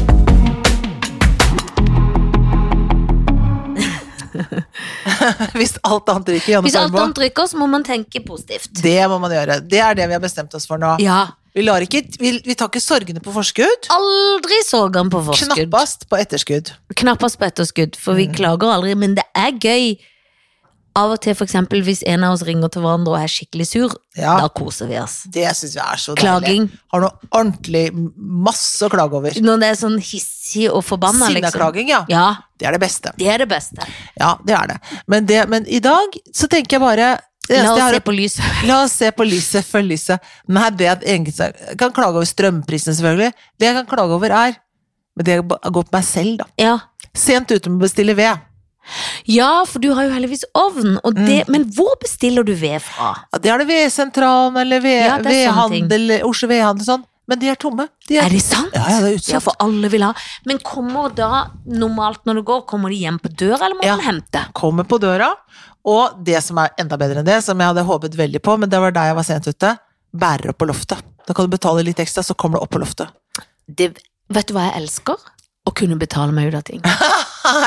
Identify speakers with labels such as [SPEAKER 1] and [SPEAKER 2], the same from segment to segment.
[SPEAKER 1] Hvis alt annet ryker, Janne
[SPEAKER 2] Hvis alt
[SPEAKER 1] Formoe.
[SPEAKER 2] annet ryker, så må man tenke positivt.
[SPEAKER 1] Det må man gjøre. Det er det vi har bestemt oss for nå.
[SPEAKER 2] Ja.
[SPEAKER 1] Vi, lar ikke, vi, vi tar ikke sorgene på forskudd.
[SPEAKER 2] Aldri sorgen på forskudd.
[SPEAKER 1] Knappast på etterskudd.
[SPEAKER 2] Knappast på etterskudd, for
[SPEAKER 1] Mm.
[SPEAKER 2] vi klager aldri, men det er gøy. Av og til, for eksempel, hvis en av oss ringer til hverandre og er skikkelig sur,
[SPEAKER 1] Ja.
[SPEAKER 2] da koser vi oss.
[SPEAKER 1] Det syns jeg er så deilig.
[SPEAKER 2] Klaging.
[SPEAKER 1] Har noe ordentlig masse å klage over.
[SPEAKER 2] Når det er sånn hissig og forbanna, liksom.
[SPEAKER 1] Sinneklaging, ja.
[SPEAKER 2] Ja,
[SPEAKER 1] Det er det beste.
[SPEAKER 2] det er det beste.
[SPEAKER 1] Ja, det er det. Men, det, men i dag så tenker jeg bare det eneste
[SPEAKER 2] La
[SPEAKER 1] jeg
[SPEAKER 2] oss
[SPEAKER 1] har
[SPEAKER 2] se på lyset.
[SPEAKER 1] La oss se på lyset, følg lyset. Nei, det at ingen jeg kan klage over strømprisen, selvfølgelig. Det jeg kan klage over, er Men det går på meg selv, da.
[SPEAKER 2] Ja.
[SPEAKER 1] Sent ute med å bestille ved.
[SPEAKER 2] ja, for du har jo heldigvis ovn, og
[SPEAKER 1] Mm.
[SPEAKER 2] det, men hvor bestiller du ved fra?
[SPEAKER 1] Ja, Det er det Vedsentralen eller ved,
[SPEAKER 2] Ja, det er sånne
[SPEAKER 1] Vedhandel, Oslo Vedhandel og sånn. Men de er tomme. De
[SPEAKER 2] Er det sant?
[SPEAKER 1] Ja, ja, det er utsolgt.
[SPEAKER 2] Ja, for alle vil ha. Men kommer da, normalt når du går, kommer de hjem på døra, eller må
[SPEAKER 1] Ja.
[SPEAKER 2] man hente?
[SPEAKER 1] kommer på døra. Og det som er enda bedre enn det, som jeg hadde håpet veldig på, men det var der jeg var sent ute, bærer opp på loftet. Da kan du betale litt ekstra, så kommer det opp på loftet.
[SPEAKER 2] Det, vet du hva jeg elsker? Å kunne betale meg ut av ting.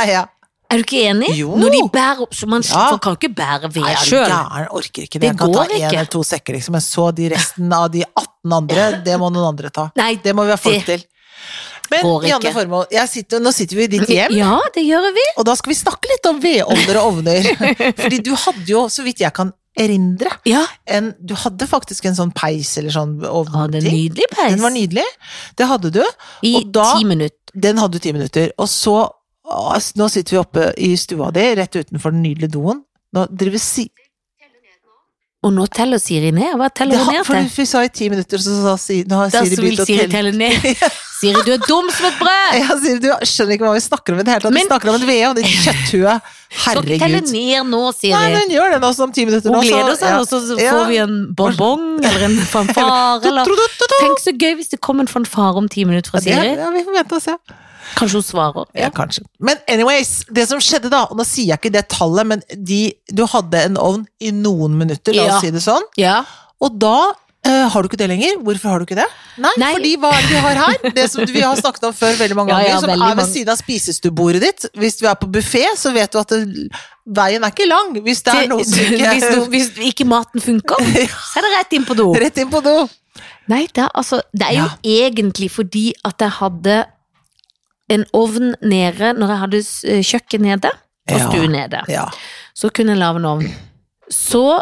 [SPEAKER 1] ja.
[SPEAKER 2] Er du ikke enig?
[SPEAKER 1] Jo.
[SPEAKER 2] Når de bærer opp, så man
[SPEAKER 1] Ja.
[SPEAKER 2] for kan ikke bære ved
[SPEAKER 1] Nei, er du
[SPEAKER 2] sjøl.
[SPEAKER 1] gæren? Orker ikke det.
[SPEAKER 2] Det
[SPEAKER 1] Jeg kan ta
[SPEAKER 2] går
[SPEAKER 1] en
[SPEAKER 2] ikke.
[SPEAKER 1] eller to sekker, liksom. Men så de resten av de 18 andre, det må noen andre ta.
[SPEAKER 2] Nei,
[SPEAKER 1] Det må vi ha folk
[SPEAKER 2] det
[SPEAKER 1] til. Men
[SPEAKER 2] går
[SPEAKER 1] Janne
[SPEAKER 2] ikke.
[SPEAKER 1] Formoe, jeg sitter, nå sitter vi i ditt hjem,
[SPEAKER 2] Ja, det gjør vi.
[SPEAKER 1] og da skal vi snakke litt om vedovner og ovner. Fordi du hadde jo, så vidt jeg kan erindre,
[SPEAKER 2] Ja,
[SPEAKER 1] en, du hadde faktisk en sånn peis eller sånn
[SPEAKER 2] Å, det er
[SPEAKER 1] ovnting.
[SPEAKER 2] nydelig peis.
[SPEAKER 1] Den var nydelig. Det hadde du.
[SPEAKER 2] I
[SPEAKER 1] og da-
[SPEAKER 2] ti minutter.
[SPEAKER 1] Den hadde du ti minutter. Og så å, s- Nå sitter vi oppe i stua di, rett utenfor den nydelige doen. Nå driver si...
[SPEAKER 2] Og nå teller Siri ned. Hva
[SPEAKER 1] Det
[SPEAKER 2] teller hun
[SPEAKER 1] har,
[SPEAKER 2] ned
[SPEAKER 1] for
[SPEAKER 2] til?
[SPEAKER 1] vi sa i ti minutter, så sa Siri Nå har
[SPEAKER 2] Da
[SPEAKER 1] Siri
[SPEAKER 2] vil
[SPEAKER 1] begynt å
[SPEAKER 2] Siri
[SPEAKER 1] telle.
[SPEAKER 2] telle ned. Siri, du er dum som et brød!
[SPEAKER 1] Ja, Siri, du skjønner ikke hva vi snakker om i det hele tatt.
[SPEAKER 2] Men-
[SPEAKER 1] Vi snakker om et ved og ditt kjøtthue.
[SPEAKER 2] Skal ikke telle
[SPEAKER 1] Herregud.
[SPEAKER 2] ned nå, Siri.
[SPEAKER 1] Nei, men hun gjør det nå, så om ti minutter
[SPEAKER 2] Hun
[SPEAKER 1] nå,
[SPEAKER 2] gleder seg,
[SPEAKER 1] ja.
[SPEAKER 2] og så
[SPEAKER 1] Ja.
[SPEAKER 2] får vi en bonbong eller en fanfare. Eller.
[SPEAKER 1] Du-du-du-du-du.
[SPEAKER 2] Tenk så gøy hvis det kom en fanfare om ti minutter fra
[SPEAKER 1] Ja, det-
[SPEAKER 2] Siri.
[SPEAKER 1] Ja, vi får vente og se.
[SPEAKER 2] Kanskje hun svarer.
[SPEAKER 1] Ja, kanskje. Men anyways, det som skjedde da, og nå sier jeg ikke det tallet, men de, du hadde en ovn i noen minutter, la
[SPEAKER 2] Ja.
[SPEAKER 1] oss si det sånn,
[SPEAKER 2] Ja.
[SPEAKER 1] og da eh, har du ikke det lenger. Hvorfor har du ikke det? Nei,
[SPEAKER 2] Nei.
[SPEAKER 1] fordi hva er det vi har her? Det som vi har snakket om før veldig mange
[SPEAKER 2] Ja,
[SPEAKER 1] ganger,
[SPEAKER 2] ja,
[SPEAKER 1] som
[SPEAKER 2] veldig
[SPEAKER 1] er ved
[SPEAKER 2] mange.
[SPEAKER 1] siden av spisestuebordet ditt. Hvis du er på buffé, så vet du at det, veien er ikke lang, hvis det er noe som
[SPEAKER 2] hvis, no,
[SPEAKER 1] ikke
[SPEAKER 2] hvis ikke maten funker, så er det rett inn på do.
[SPEAKER 1] Rett inn på do.
[SPEAKER 2] Nei, det er, altså, det er jo egentlig fordi at jeg hadde en ovn nede når jeg hadde s- eh, kjøkken nede og
[SPEAKER 1] Ja.
[SPEAKER 2] stue nede.
[SPEAKER 1] Ja.
[SPEAKER 2] Så kunne jeg lage en ovn. Så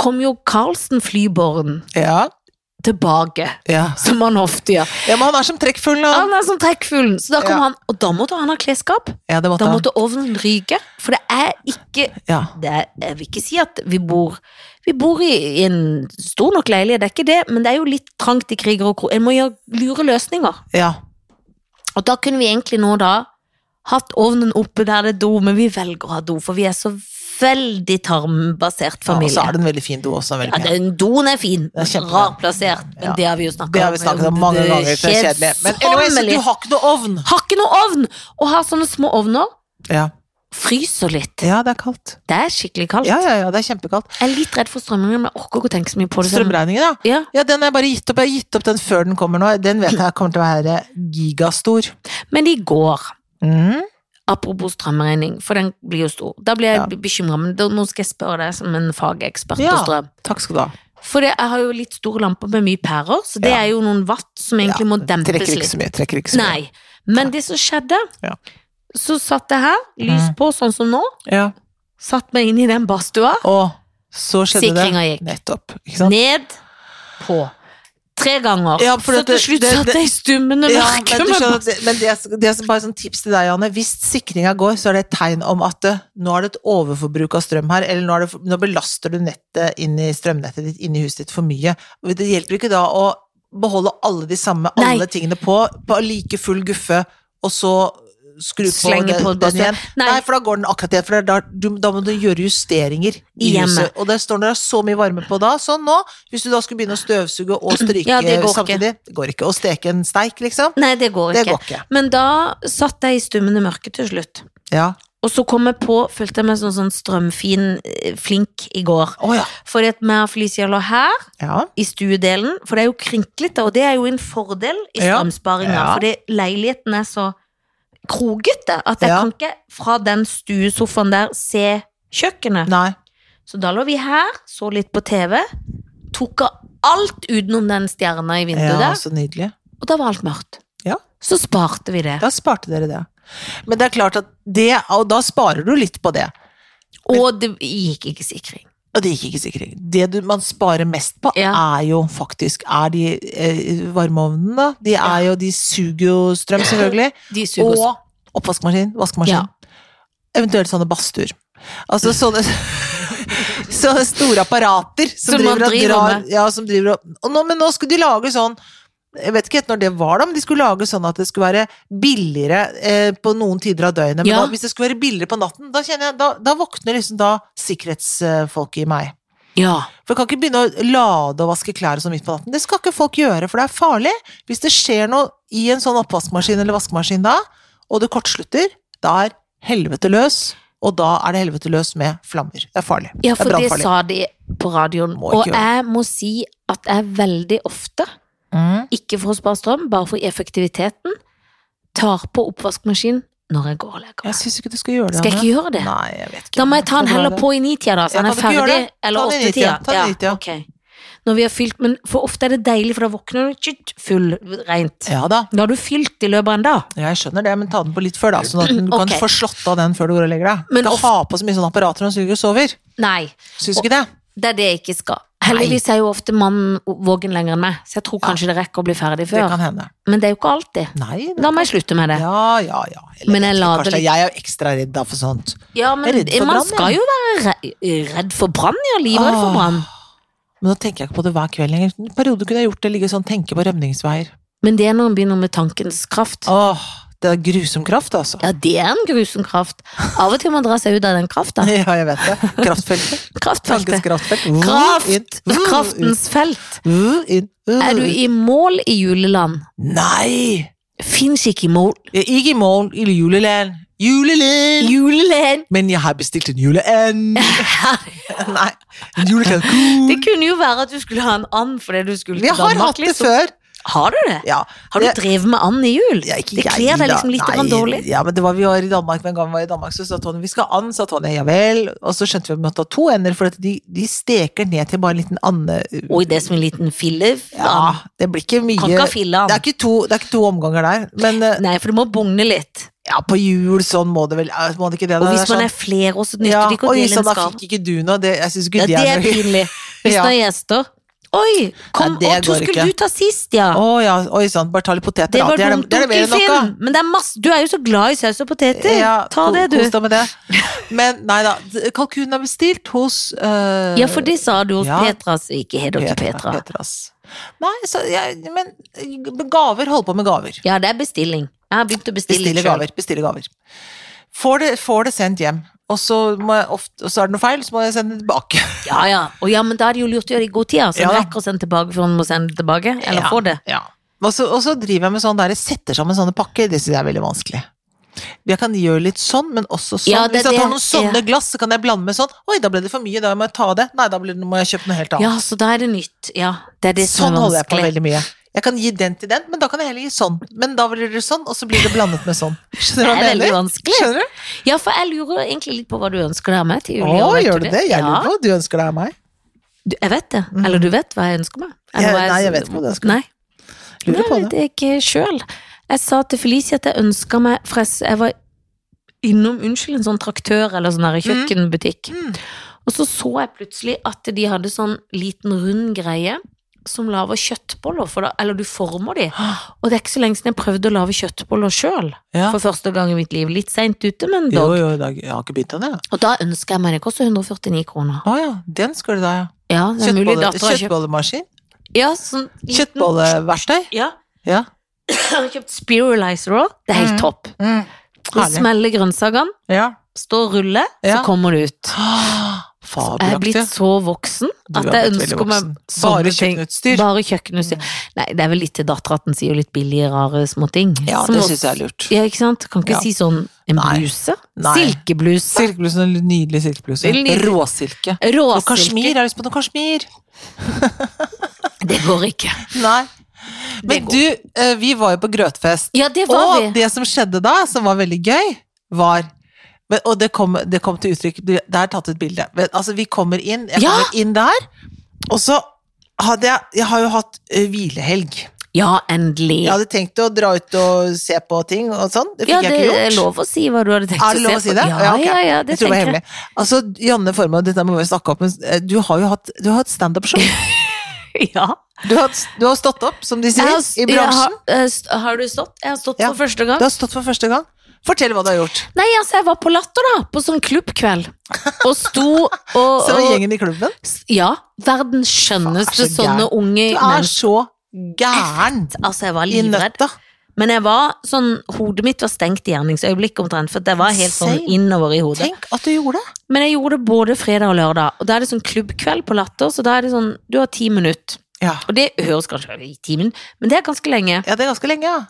[SPEAKER 2] kom jo Carlsen Flyborn
[SPEAKER 1] Ja.
[SPEAKER 2] tilbake,
[SPEAKER 1] ja.
[SPEAKER 2] som han ofte gjør.
[SPEAKER 1] ja men han er som trekkfuglen, han.
[SPEAKER 2] Han er som trekkfuglen, så da kom
[SPEAKER 1] Ja.
[SPEAKER 2] han, og da måtte han ha klesskap.
[SPEAKER 1] Ja, det måtte
[SPEAKER 2] Da
[SPEAKER 1] han.
[SPEAKER 2] måtte ovnen ryke, for det er ikke
[SPEAKER 1] Ja.
[SPEAKER 2] det er, Jeg vil ikke si at vi bor Vi bor i, i en stor nok leilighet, det er ikke det, men det er jo litt trangt i kriger og kro. En må gjøre lure løsninger.
[SPEAKER 1] ja.
[SPEAKER 2] Og da kunne vi egentlig nå da hatt ovnen oppe der det er do, men vi velger å ha do, for vi er så veldig tarmbasert
[SPEAKER 1] ja. Og
[SPEAKER 2] familie.
[SPEAKER 1] så er det en veldig fin do også.
[SPEAKER 2] Ja,
[SPEAKER 1] Veldig pen.
[SPEAKER 2] den doen er fin,
[SPEAKER 1] er kjempebra.
[SPEAKER 2] rar plassert, men
[SPEAKER 1] Ja.
[SPEAKER 2] det har vi jo snakket om.
[SPEAKER 1] Det har vi snakket om mange ganger, så det er kjedelig. Men anyways,
[SPEAKER 2] Kjedsommelig.
[SPEAKER 1] du har ikke noe ovn.
[SPEAKER 2] Har ikke noe ovn! Og har sånne små ovner.
[SPEAKER 1] Ja.
[SPEAKER 2] Fryser litt.
[SPEAKER 1] det er kaldt.
[SPEAKER 2] Det er skikkelig kaldt.
[SPEAKER 1] Ja, ja, ja, det er kjempekaldt.
[SPEAKER 2] Jeg er litt redd for strømregningen, men jeg orker ikke å tenke så mye på det.
[SPEAKER 1] Strømregningen, ja.
[SPEAKER 2] Ja.
[SPEAKER 1] Ja, den har jeg bare gitt opp. Jeg har gitt opp den før den kommer nå. Den vet jeg kommer til å være gigastor.
[SPEAKER 2] Men i går,
[SPEAKER 1] Mm.
[SPEAKER 2] apropos strømregning, for den blir jo stor, da blir jeg
[SPEAKER 1] Ja.
[SPEAKER 2] bekymret bekymra, men da, nå skal jeg spørre deg som en fagekspert
[SPEAKER 1] Ja.
[SPEAKER 2] på strøm.
[SPEAKER 1] Takk skal du ha.
[SPEAKER 2] For det, jeg har jo litt store lamper med mye pærer, så det
[SPEAKER 1] Ja.
[SPEAKER 2] er jo noen watt som egentlig må dempes
[SPEAKER 1] Trekker ikke
[SPEAKER 2] litt.
[SPEAKER 1] så mye. Trekker ikke så mye.
[SPEAKER 2] Nei. Men det som skjedde,
[SPEAKER 1] Ja.
[SPEAKER 2] så satt jeg her, lys
[SPEAKER 1] Mm.
[SPEAKER 2] på, sånn som nå,
[SPEAKER 1] Ja.
[SPEAKER 2] satt meg inn i den badstua,
[SPEAKER 1] Og så skjedde
[SPEAKER 2] Sikringa
[SPEAKER 1] det.
[SPEAKER 2] gikk.
[SPEAKER 1] Nettopp. Ikke sant?
[SPEAKER 2] ned på. Tre ganger.
[SPEAKER 1] Ja, for
[SPEAKER 2] så
[SPEAKER 1] at
[SPEAKER 2] til
[SPEAKER 1] det-
[SPEAKER 2] slutt
[SPEAKER 1] det-
[SPEAKER 2] satt
[SPEAKER 1] det-
[SPEAKER 2] jeg i stummende
[SPEAKER 1] Ja, men,
[SPEAKER 2] mørke.
[SPEAKER 1] du
[SPEAKER 2] med
[SPEAKER 1] skjønner, at det, men det, det er bare sånn tips til deg, Janne. Hvis sikringa går, så er det et tegn om at eh, nå er det et overforbruk av strøm her, eller nå, er det, nå belaster du nettet inn i strømnettet ditt inni huset ditt for mye. Og Det hjelper ikke da å beholde alle de samme
[SPEAKER 2] Nei.
[SPEAKER 1] alle tingene på, på like full guffe, og så skru på,
[SPEAKER 2] Slenge
[SPEAKER 1] den,
[SPEAKER 2] på
[SPEAKER 1] den
[SPEAKER 2] badstua.
[SPEAKER 1] igjen. Nei.
[SPEAKER 2] Nei.
[SPEAKER 1] for da går den akkurat igjen. For det er da, du, da må du gjøre justeringer i
[SPEAKER 2] I hjemmet.
[SPEAKER 1] huset. Og det står når det er så mye varme på da. Sånn nå, hvis du da skulle begynne å støvsuge og stryke
[SPEAKER 2] Ja, det går ikke.
[SPEAKER 1] samtidig Det går ikke. Å steke en steik, liksom.
[SPEAKER 2] Nei, det går
[SPEAKER 1] Det
[SPEAKER 2] ikke.
[SPEAKER 1] går ikke.
[SPEAKER 2] Men da satt jeg i stummende mørke til slutt.
[SPEAKER 1] Ja.
[SPEAKER 2] Og så kom jeg på, følte jeg meg sånn, sånn strømfin, eh, flink i går.
[SPEAKER 1] Å ja.
[SPEAKER 2] Fordi at meg og Felicia lå her,
[SPEAKER 1] Ja.
[SPEAKER 2] i stuedelen, for det er jo krinklete, og det er jo en fordel i
[SPEAKER 1] Ja.
[SPEAKER 2] strømsparinga,
[SPEAKER 1] Ja.
[SPEAKER 2] fordi leiligheten er så krogete at jeg
[SPEAKER 1] Ja.
[SPEAKER 2] kan ikke fra den stuesofaen der se kjøkkenet.
[SPEAKER 1] Nei.
[SPEAKER 2] Så da lå vi her, så litt på TV, tok av alt utenom den stjerna i vinduet
[SPEAKER 1] Ja,
[SPEAKER 2] der,
[SPEAKER 1] så nydelig.
[SPEAKER 2] og da var alt mørkt.
[SPEAKER 1] Ja.
[SPEAKER 2] Så sparte vi det.
[SPEAKER 1] Da sparte dere det. Men det er klart at det, og da sparer du litt på det.
[SPEAKER 2] Og det gikk ikke sikring.
[SPEAKER 1] Og det gikk ikke sikring. Det du, man sparer mest på,
[SPEAKER 2] Ja.
[SPEAKER 1] er jo faktisk er de eh, varmeovnene. da. De, er jo, de suger jo strøm, selvfølgelig.
[SPEAKER 2] De suger oss.
[SPEAKER 1] Og oppvaskmaskin, vaskemaskin. Eventuelt sånne badstuer. Altså sånne så store apparater som,
[SPEAKER 2] Som man
[SPEAKER 1] driver og
[SPEAKER 2] driver
[SPEAKER 1] drar
[SPEAKER 2] med.
[SPEAKER 1] ja, som driver og, og nå, Men nå skulle de lage sånn jeg vet ikke helt når det var, da, men de skulle lage sånn at det skulle være billigere eh, på noen tider av døgnet. Men
[SPEAKER 2] Ja.
[SPEAKER 1] da, hvis det skulle være billigere på natten, da, kjenner jeg, da, da våkner liksom da sikkerhetsfolket i meg.
[SPEAKER 2] Ja.
[SPEAKER 1] For jeg kan ikke begynne å lade og vaske klær og sånn midt på natten. Det skal ikke folk gjøre, for det er farlig. Hvis det skjer noe i en sånn oppvaskmaskin eller vaskemaskin da, og det kortslutter, da er helvete løs, og da er det helvete løs med flammer. Det er farlig.
[SPEAKER 2] ja,
[SPEAKER 1] det
[SPEAKER 2] for
[SPEAKER 1] er
[SPEAKER 2] det
[SPEAKER 1] brannfarlig.
[SPEAKER 2] sa de på radioen.
[SPEAKER 1] Må
[SPEAKER 2] Og
[SPEAKER 1] ikke gjøre det.
[SPEAKER 2] jeg må si at jeg veldig ofte,
[SPEAKER 1] Mm.
[SPEAKER 2] ikke for å spare strøm, bare for effektiviteten, tar på oppvaskmaskinen når jeg går og legger
[SPEAKER 1] Jeg
[SPEAKER 2] meg.
[SPEAKER 1] syns ikke du skal gjøre det.
[SPEAKER 2] Skal jeg ikke gjøre det?
[SPEAKER 1] Nei, jeg vet ikke.
[SPEAKER 2] Da må jeg ta
[SPEAKER 1] Skal
[SPEAKER 2] den
[SPEAKER 1] du
[SPEAKER 2] heller
[SPEAKER 1] gjøre det?
[SPEAKER 2] på i nitida, da,
[SPEAKER 1] Ja,
[SPEAKER 2] så den
[SPEAKER 1] kan du
[SPEAKER 2] er
[SPEAKER 1] ikke gjøre
[SPEAKER 2] ferdig.
[SPEAKER 1] det?
[SPEAKER 2] Eller
[SPEAKER 1] Ta den i
[SPEAKER 2] åttetida.
[SPEAKER 1] nitida, ta den i nitida.
[SPEAKER 2] ok. Når vi har fylt, men for ofte er det deilig, for da våkner du tjut, full, rent.
[SPEAKER 1] Ja da,
[SPEAKER 2] Da har du fylt i løpet av en dag.
[SPEAKER 1] jeg skjønner det, men ta den på litt før, da. Sånn at du
[SPEAKER 2] Mm, Ok.
[SPEAKER 1] kan få slått av den før du går og legger deg.
[SPEAKER 2] Men
[SPEAKER 1] Ikke
[SPEAKER 2] of-
[SPEAKER 1] ha på så mye sånne apparater når du ligger og sover.
[SPEAKER 2] Nei,
[SPEAKER 1] Syns du ikke det?
[SPEAKER 2] det er det jeg ikke skal. Heldigvis er jo ofte mannen våken lenger enn meg, så jeg tror kanskje det rekker å bli ferdig
[SPEAKER 1] Det
[SPEAKER 2] før.
[SPEAKER 1] kan hende.
[SPEAKER 2] Men det er jo ikke alltid.
[SPEAKER 1] Nei, det
[SPEAKER 2] Da må jeg slutte med det.
[SPEAKER 1] Ja, ja, ja.
[SPEAKER 2] Men jeg
[SPEAKER 1] vet ikke,
[SPEAKER 2] lader
[SPEAKER 1] Karsten,
[SPEAKER 2] litt-
[SPEAKER 1] Jeg er jo ekstra redd da for sånt.
[SPEAKER 2] Ja, men
[SPEAKER 1] Jeg er redd for
[SPEAKER 2] man
[SPEAKER 1] brann,
[SPEAKER 2] skal
[SPEAKER 1] jeg.
[SPEAKER 2] jo være re- redd for brann, ja. Livredd for
[SPEAKER 1] Åh.
[SPEAKER 2] brann.
[SPEAKER 1] Men nå tenker jeg ikke på det hver kveld lenger. En periode kunne jeg gjort det, ligge sånn tenke på rømningsveier.
[SPEAKER 2] Men det er når man begynner med tankens kraft.
[SPEAKER 1] Åh, det er grusom kraft, altså.
[SPEAKER 2] Ja, det er en grusom kraft. Av og til må man dra seg ut av den krafta.
[SPEAKER 1] Ja, jeg vet det. Kraftfeltet. Tankens
[SPEAKER 2] Kraftfeltet.
[SPEAKER 1] kraftfelt. Vuh, inn,
[SPEAKER 2] Kraft!
[SPEAKER 1] vuh,
[SPEAKER 2] Kraftens felt.
[SPEAKER 1] ut, vuh, inn, vuh,
[SPEAKER 2] Er du
[SPEAKER 1] ut.
[SPEAKER 2] i mål i juleland?
[SPEAKER 1] Nei!
[SPEAKER 2] Fins ikke i mål.
[SPEAKER 1] Jeg er ikke i mål i juleland. Juleland!
[SPEAKER 2] Juleland!
[SPEAKER 1] Men jeg har bestilt en juleend. Nei, en julekakalkun.
[SPEAKER 2] Det kunne jo være at du skulle ha en and fordi du skulle
[SPEAKER 1] Vi
[SPEAKER 2] til
[SPEAKER 1] har
[SPEAKER 2] Danmark.
[SPEAKER 1] hatt det
[SPEAKER 2] liksom.
[SPEAKER 1] før.
[SPEAKER 2] Har du det?
[SPEAKER 1] Ja.
[SPEAKER 2] Har du
[SPEAKER 1] det-
[SPEAKER 2] drevet med and i jul?
[SPEAKER 1] Ja, ikke
[SPEAKER 2] det
[SPEAKER 1] jeg,
[SPEAKER 2] kler deg
[SPEAKER 1] da.
[SPEAKER 2] liksom litt
[SPEAKER 1] Nei,
[SPEAKER 2] grann dårlig.
[SPEAKER 1] Ja, men det var, vi var i Danmark, men en gang vi var i Danmark, så sa Tonje vi skal ha and, sa Tonje ja vel. Og så skjønte vi at vi måtte ha to ender, for at de, de steker ned til bare en liten ande...
[SPEAKER 2] Oi, det er som en liten fille.
[SPEAKER 1] Ja, det blir ikke mye
[SPEAKER 2] Kan ikke ha fille
[SPEAKER 1] det
[SPEAKER 2] and.
[SPEAKER 1] er ikke, to, det er ikke to omganger der, men eh,
[SPEAKER 2] Nei, for det må bugne litt.
[SPEAKER 1] ja, på jul sånn må det vel eh, Må det ikke det?
[SPEAKER 2] Og
[SPEAKER 1] da?
[SPEAKER 2] hvis
[SPEAKER 1] Det er
[SPEAKER 2] man
[SPEAKER 1] sånn-
[SPEAKER 2] er flere, også, så nytter
[SPEAKER 1] ja,
[SPEAKER 2] det ikke å
[SPEAKER 1] Oi,
[SPEAKER 2] dele
[SPEAKER 1] sånn
[SPEAKER 2] en
[SPEAKER 1] da
[SPEAKER 2] skarv.
[SPEAKER 1] fikk ikke du noe. Det, jeg syns ikke
[SPEAKER 2] Ja, det er
[SPEAKER 1] noe
[SPEAKER 2] pinlig. Hvis
[SPEAKER 1] Ja.
[SPEAKER 2] det er gjester Oi, kom,
[SPEAKER 1] Nei, det
[SPEAKER 2] og så
[SPEAKER 1] går
[SPEAKER 2] skulle
[SPEAKER 1] ikke.
[SPEAKER 2] du ta sist, ja.
[SPEAKER 1] Å ja, oi sann, bare ta litt poteter,
[SPEAKER 2] Det
[SPEAKER 1] da.
[SPEAKER 2] var
[SPEAKER 1] Det er
[SPEAKER 2] dumt,
[SPEAKER 1] det er det mer enn nok av.
[SPEAKER 2] onkelfilm. Men det er masse, du er jo så glad i saus og poteter.
[SPEAKER 1] Ja,
[SPEAKER 2] Ta
[SPEAKER 1] ko-
[SPEAKER 2] det, du.
[SPEAKER 1] Kos deg med det. Men nei da, kalkunen er bestilt hos eh,
[SPEAKER 2] Ja, for det sa du hos
[SPEAKER 1] Ja.
[SPEAKER 2] Petra, så ikke heder til Petra.
[SPEAKER 1] Petras. Nei, så jeg, men gaver, hold på med gaver.
[SPEAKER 2] Ja, det er bestilling. Jeg har begynt å bestille
[SPEAKER 1] Bestille
[SPEAKER 2] selv.
[SPEAKER 1] gaver. Bestille gaver. Får det, får det sendt hjem, og så, må jeg ofte, og så er det noe feil, så må jeg sende det tilbake.
[SPEAKER 2] Ja, ja. Og ja, men da er det jo lurt å gjøre det i god tid, så
[SPEAKER 1] Ja,
[SPEAKER 2] man
[SPEAKER 1] da.
[SPEAKER 2] rekker å sende tilbake før man må sende det tilbake. Eller
[SPEAKER 1] Ja,
[SPEAKER 2] få det.
[SPEAKER 1] Ja. Og så, og så driver jeg med sånn der, jeg setter sammen sånne pakker, det synes jeg er veldig vanskelig. Jeg kan gjøre litt sånn, men også sånn.
[SPEAKER 2] Ja, det er
[SPEAKER 1] Hvis jeg tar
[SPEAKER 2] det.
[SPEAKER 1] noen sånne
[SPEAKER 2] Ja.
[SPEAKER 1] glass, så kan jeg blande med sånn. Oi, da ble det for mye, da må jeg ta det. Nei, da blir det- må jeg kjøpe noe helt annet.
[SPEAKER 2] Ja, så da er det nytt. Ja, det er det
[SPEAKER 1] sånn
[SPEAKER 2] som er
[SPEAKER 1] holder jeg på
[SPEAKER 2] vanskelig.
[SPEAKER 1] veldig mye. Jeg kan gi den til den, men da kan jeg heller gi sånn. Men da blir det sånn, og så blir det blandet med sånn.
[SPEAKER 2] Det
[SPEAKER 1] Skjønner du hva
[SPEAKER 2] er
[SPEAKER 1] jeg
[SPEAKER 2] veldig
[SPEAKER 1] mener?
[SPEAKER 2] vanskelig.
[SPEAKER 1] Skjønner du?
[SPEAKER 2] Ja, for jeg lurer egentlig litt på hva du ønsker deg av meg til jul.
[SPEAKER 1] Å,
[SPEAKER 2] i år, vet
[SPEAKER 1] gjør
[SPEAKER 2] du
[SPEAKER 1] du det? Jeg lurer på hva du ønsker deg av meg.
[SPEAKER 2] Du- Jeg vet det. Eller du vet hva jeg ønsker meg? Eller
[SPEAKER 1] Jeg-
[SPEAKER 2] hva
[SPEAKER 1] nei, jeg vet ikke hva du ønsker.
[SPEAKER 2] Nei,
[SPEAKER 1] Lurer på
[SPEAKER 2] jeg vet
[SPEAKER 1] det.
[SPEAKER 2] jeg ikke sjøl. Jeg sa til Felicie at jeg ønska meg For jeg s- jeg var innom unnskyld, en sånn traktør eller sånn her kjøkkenbutikk.
[SPEAKER 1] Mm.
[SPEAKER 2] Og så så jeg plutselig at de hadde sånn liten rund greie som lager kjøttboller. For da, eller du former de. Og det er ikke så lenge siden jeg prøvde å lage kjøttboller sjøl.
[SPEAKER 1] Ja.
[SPEAKER 2] For første gang i mitt liv. Litt seint ute, men
[SPEAKER 1] Jo,
[SPEAKER 2] dog.
[SPEAKER 1] jo, i dag- jeg har ikke begynt ennå, jeg.
[SPEAKER 2] Og da ønsker jeg meg det. Koster 149 kroner.
[SPEAKER 1] Å ja, den skal du da, ja.
[SPEAKER 2] Ja, det er mulig
[SPEAKER 1] Kjøttbolle,
[SPEAKER 2] datteren har kjøpt
[SPEAKER 1] kjøttbollemaskin?
[SPEAKER 2] ja, sånn liten-
[SPEAKER 1] Kjøttbolleverktøy?
[SPEAKER 2] Ja.
[SPEAKER 1] Ja.
[SPEAKER 2] Jeg har kjøpt spiralizer òg. Det er helt
[SPEAKER 1] Mhm.
[SPEAKER 2] topp.
[SPEAKER 1] Mm.
[SPEAKER 2] Du
[SPEAKER 1] Herlig.
[SPEAKER 2] smeller grønnsakene,
[SPEAKER 1] Ja.
[SPEAKER 2] står og ruller, så
[SPEAKER 1] Ja.
[SPEAKER 2] kommer det ut.
[SPEAKER 1] Ah,
[SPEAKER 2] Jeg er blitt
[SPEAKER 1] Fabelaktig.
[SPEAKER 2] så voksen
[SPEAKER 1] Du
[SPEAKER 2] at
[SPEAKER 1] har
[SPEAKER 2] jeg
[SPEAKER 1] blitt veldig
[SPEAKER 2] ønsker meg
[SPEAKER 1] voksen.
[SPEAKER 2] sånne
[SPEAKER 1] Bare
[SPEAKER 2] ting.
[SPEAKER 1] kjøkkenutstyr. Mm.
[SPEAKER 2] Bare kjøkkenutstyr. Nei, det er vel litt til dattera at den sier litt billige, rare småting.
[SPEAKER 1] Ja, det syns jeg er lurt.
[SPEAKER 2] Ja, ikke sant? Kan ikke
[SPEAKER 1] Ja.
[SPEAKER 2] si sånn en
[SPEAKER 1] Nei.
[SPEAKER 2] bluse.
[SPEAKER 1] Nei.
[SPEAKER 2] Silkebluse.
[SPEAKER 1] Silkebluse, en nydelig silkebluse.
[SPEAKER 2] Veldig nydelig.
[SPEAKER 1] Råsilke. Og kasjmir, jeg
[SPEAKER 2] Råsilke.
[SPEAKER 1] har lyst på noe kasjmir.
[SPEAKER 2] Det går ikke.
[SPEAKER 1] Nei.
[SPEAKER 2] Det
[SPEAKER 1] Men
[SPEAKER 2] går.
[SPEAKER 1] du, eh, vi var jo på grøtfest.
[SPEAKER 2] Ja, det var
[SPEAKER 1] Og
[SPEAKER 2] vi.
[SPEAKER 1] det som skjedde da, som var veldig gøy, var Men, og det kom, det kom til uttrykk Det det er tatt et bilde. Men, altså, vi kommer inn, jeg
[SPEAKER 2] Ja!
[SPEAKER 1] kommer inn der, og så hadde jeg Jeg har jo hatt ø, hvilehelg.
[SPEAKER 2] Ja, endelig.
[SPEAKER 1] Jeg hadde tenkt å dra ut og se på ting og sånn. Det fikk
[SPEAKER 2] Ja,
[SPEAKER 1] jeg ikke gjort.
[SPEAKER 2] er lov å si hva du hadde tenkt
[SPEAKER 1] Er det lov å
[SPEAKER 2] se
[SPEAKER 1] si
[SPEAKER 2] på.
[SPEAKER 1] det?
[SPEAKER 2] Ja,
[SPEAKER 1] ok.
[SPEAKER 2] ja, ja, det
[SPEAKER 1] jeg tror det var hemmelig.
[SPEAKER 2] tenker
[SPEAKER 1] Altså, Janne Formoe, dette må vi snakke om, men eh, du har jo hatt, du har hatt standup-show.
[SPEAKER 2] jeg. Ja.
[SPEAKER 1] Du, har- du har stått opp, som de sier,
[SPEAKER 2] Jeg har,
[SPEAKER 1] i
[SPEAKER 2] jeg
[SPEAKER 1] bransjen.
[SPEAKER 2] har, eh, st- har du stått? Jeg har stått
[SPEAKER 1] Ja.
[SPEAKER 2] for første gang.
[SPEAKER 1] Du har stått for første gang. Fortell hva du har gjort.
[SPEAKER 2] Nei, altså, jeg var på Latter, da. På sånn klubbkveld. Og sto og,
[SPEAKER 1] Så var
[SPEAKER 2] og
[SPEAKER 1] gjengen i klubben.
[SPEAKER 2] Ja. Verdens
[SPEAKER 1] Faen, er
[SPEAKER 2] skjønneste
[SPEAKER 1] så
[SPEAKER 2] sånne
[SPEAKER 1] gæren.
[SPEAKER 2] unge
[SPEAKER 1] Du er
[SPEAKER 2] mennesker.
[SPEAKER 1] så gæren
[SPEAKER 2] Altså, jeg var
[SPEAKER 1] i
[SPEAKER 2] livredd.
[SPEAKER 1] nøtta.
[SPEAKER 2] Men jeg var sånn, hodet mitt var stengt i gjerningsøyeblikket omtrent, for det var helt sånn
[SPEAKER 1] Same.
[SPEAKER 2] innover i hodet.
[SPEAKER 1] Tenk at du gjorde det.
[SPEAKER 2] Men jeg gjorde det både fredag og lørdag, og da er det sånn klubbkveld på Latter, så da er det sånn, du har ti minutter.
[SPEAKER 1] Ja.
[SPEAKER 2] Og det høres kanskje i timen, men det er ganske lenge.
[SPEAKER 1] ja, det er ganske lenge, ja.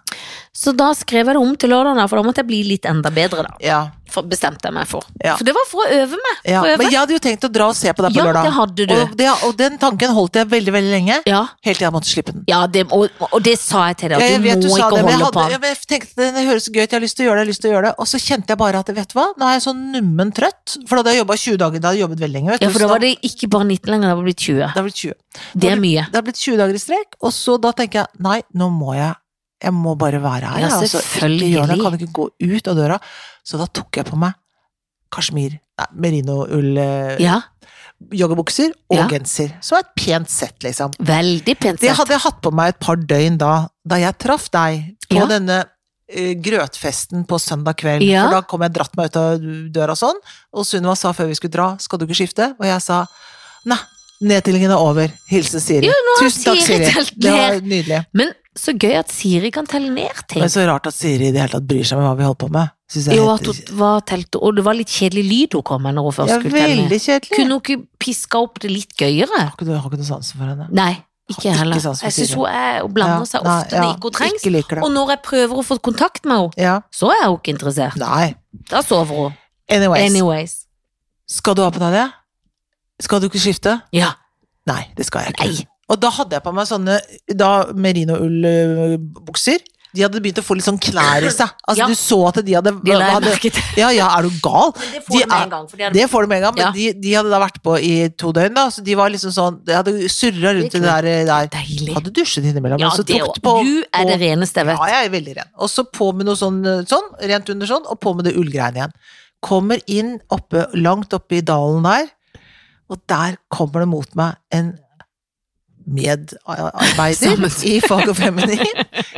[SPEAKER 2] Så da skrev jeg det om til lørdagen, for da måtte jeg bli litt enda bedre da.
[SPEAKER 1] ja.
[SPEAKER 2] For, bestemte jeg meg for.
[SPEAKER 1] Ja.
[SPEAKER 2] For det var for å øve meg.
[SPEAKER 1] ja.
[SPEAKER 2] For å øve.
[SPEAKER 1] Men jeg hadde jo tenkt å dra og se på deg på
[SPEAKER 2] Ja,
[SPEAKER 1] lørdag.
[SPEAKER 2] det hadde du.
[SPEAKER 1] Og, det, og den tanken holdt jeg veldig, veldig lenge.
[SPEAKER 2] Ja,
[SPEAKER 1] Helt til jeg måtte slippe den.
[SPEAKER 2] ja det, og, og det sa jeg til deg,
[SPEAKER 1] Ja,
[SPEAKER 2] at
[SPEAKER 1] jeg
[SPEAKER 2] du
[SPEAKER 1] vet du
[SPEAKER 2] må
[SPEAKER 1] sa
[SPEAKER 2] ikke
[SPEAKER 1] det, men jeg,
[SPEAKER 2] holde på
[SPEAKER 1] hadde,
[SPEAKER 2] han.
[SPEAKER 1] ja, men jeg tenkte det høres så gøy ut, jeg har lyst til å gjøre det, jeg har lyst til å gjøre det. Og så kjente jeg bare at vet du hva, nå er jeg så nummen trøtt. For da hadde jeg jobba 20 dager, da hadde jeg jobbet veldig lenge. Vet du.
[SPEAKER 2] Ja, for
[SPEAKER 1] så
[SPEAKER 2] da var det ikke bare 19 lenger, det var blitt 20.
[SPEAKER 1] det har blitt 20.
[SPEAKER 2] Det er mye.
[SPEAKER 1] Det har blitt 20 dager i strek, og så da tenker jeg nei, nå må jeg jeg må bare være her.
[SPEAKER 2] Ja,
[SPEAKER 1] jeg, altså, ikke
[SPEAKER 2] selvfølgelig.
[SPEAKER 1] gjøre det, Jeg kan ikke gå ut av døra. Så da tok jeg på meg kasjmir, nei, merinoull, eh,
[SPEAKER 2] Ja,
[SPEAKER 1] joggebukser og
[SPEAKER 2] Ja.
[SPEAKER 1] genser. Som er et pent sett, liksom.
[SPEAKER 2] veldig pent
[SPEAKER 1] Det
[SPEAKER 2] sett.
[SPEAKER 1] hadde jeg hatt på meg et par døgn da, da jeg traff deg på
[SPEAKER 2] Ja.
[SPEAKER 1] denne eh, grøtfesten på søndag kveld.
[SPEAKER 2] Ja.
[SPEAKER 1] For da kom jeg dratt meg ut av døra sånn, og Sunniva sa før vi skulle dra, skal du ikke skifte? Og jeg sa nei, nedtellingen er over. Hilsen Siri. Tusen takk,
[SPEAKER 2] Siri
[SPEAKER 1] Siri.
[SPEAKER 2] telt
[SPEAKER 1] Det var
[SPEAKER 2] ned.
[SPEAKER 1] nydelig.
[SPEAKER 2] Men så gøy at Siri kan telle ned ting.
[SPEAKER 1] Men så rart at Siri i det hele tatt bryr seg om hva vi holder på med. Synes jeg
[SPEAKER 2] Jo,
[SPEAKER 1] er
[SPEAKER 2] at
[SPEAKER 1] helt-
[SPEAKER 2] hun var telt, og det var litt kjedelig lyd hun kom med når hun først
[SPEAKER 1] ja,
[SPEAKER 2] skulle telle ned.
[SPEAKER 1] veldig kjedelig.
[SPEAKER 2] Kunne hun ikke piska opp det litt gøyere?
[SPEAKER 1] Har ikke du har ikke noe sansen for henne?
[SPEAKER 2] Nei, ikke
[SPEAKER 1] Ikke
[SPEAKER 2] heller.
[SPEAKER 1] sans for
[SPEAKER 2] jeg syns
[SPEAKER 1] Siri.
[SPEAKER 2] hun, er, hun blander
[SPEAKER 1] Ja,
[SPEAKER 2] seg
[SPEAKER 1] nei,
[SPEAKER 2] ofte når
[SPEAKER 1] ja,
[SPEAKER 2] ikke hun trengs.
[SPEAKER 1] Ikke liker
[SPEAKER 2] Og
[SPEAKER 1] det.
[SPEAKER 2] når jeg prøver å få kontakt med henne,
[SPEAKER 1] Ja.
[SPEAKER 2] så er hun ikke interessert.
[SPEAKER 1] Nei.
[SPEAKER 2] Da sover hun.
[SPEAKER 1] Anyways.
[SPEAKER 2] Anyways.
[SPEAKER 1] Skal du ha på deg det? Skal du ikke skifte?
[SPEAKER 2] Ja.
[SPEAKER 1] Nei, det skal jeg ikke.
[SPEAKER 2] Nei.
[SPEAKER 1] Og da hadde jeg på meg sånne da merinoullbukser. De hadde begynt å få litt sånn knær i seg. Altså,
[SPEAKER 2] Ja.
[SPEAKER 1] Du så at de hadde,
[SPEAKER 2] Det la jeg
[SPEAKER 1] hadde
[SPEAKER 2] merke til.
[SPEAKER 1] Ja, ja, er du gal?
[SPEAKER 2] Men det
[SPEAKER 1] De
[SPEAKER 2] får du med
[SPEAKER 1] er-
[SPEAKER 2] en gang. For de hadde,
[SPEAKER 1] Det får du med en gang, men
[SPEAKER 2] Ja.
[SPEAKER 1] de, de hadde da vært på i to døgn, da, så de var liksom sånn De hadde surra rundt det der. der.
[SPEAKER 2] Deilig.
[SPEAKER 1] Hadde dusjet innimellom,
[SPEAKER 2] Ja,
[SPEAKER 1] men så
[SPEAKER 2] det
[SPEAKER 1] tok
[SPEAKER 2] også.
[SPEAKER 1] det på
[SPEAKER 2] du er
[SPEAKER 1] på-
[SPEAKER 2] det reneste jeg vet.
[SPEAKER 1] Ja, jeg er veldig ren. Og så på med noe sånn, sånn, rent under sånn, og på med det ullgreiene igjen. Kommer inn oppe, langt oppe i dalen der, og der kommer det mot meg en medarbeider
[SPEAKER 2] Samme-
[SPEAKER 1] i Fag og Feminin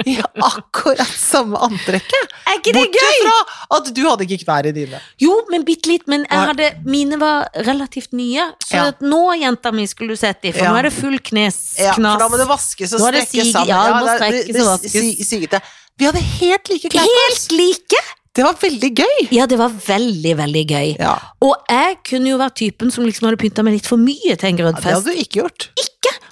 [SPEAKER 1] i akkurat samme antrekket.
[SPEAKER 2] Er ikke det gøy?
[SPEAKER 1] Bortsett fra at du hadde ikke knær i dine.
[SPEAKER 2] Jo, men bitte litt. Men jeg
[SPEAKER 1] Nei.
[SPEAKER 2] hadde, mine var relativt nye. Så
[SPEAKER 1] Ja.
[SPEAKER 2] at nå, jenta mi, skulle du sett dem, for
[SPEAKER 1] Ja.
[SPEAKER 2] nå er det full knes.
[SPEAKER 1] Ja, for da må det
[SPEAKER 2] Knas.
[SPEAKER 1] vaskes og
[SPEAKER 2] Nå er det
[SPEAKER 1] strekkes
[SPEAKER 2] sig-
[SPEAKER 1] sammen.
[SPEAKER 2] ja, det må
[SPEAKER 1] er-
[SPEAKER 2] strekkes og vaskes.
[SPEAKER 1] sig- sigete. Vi hadde helt like klær. på oss.
[SPEAKER 2] Helt like!
[SPEAKER 1] Det var veldig gøy.
[SPEAKER 2] Ja, det var veldig, veldig gøy.
[SPEAKER 1] Ja,
[SPEAKER 2] Og jeg kunne jo vært typen som liksom hadde pynta meg litt for mye til en grønn
[SPEAKER 1] det hadde
[SPEAKER 2] fest.
[SPEAKER 1] du ikke gjort.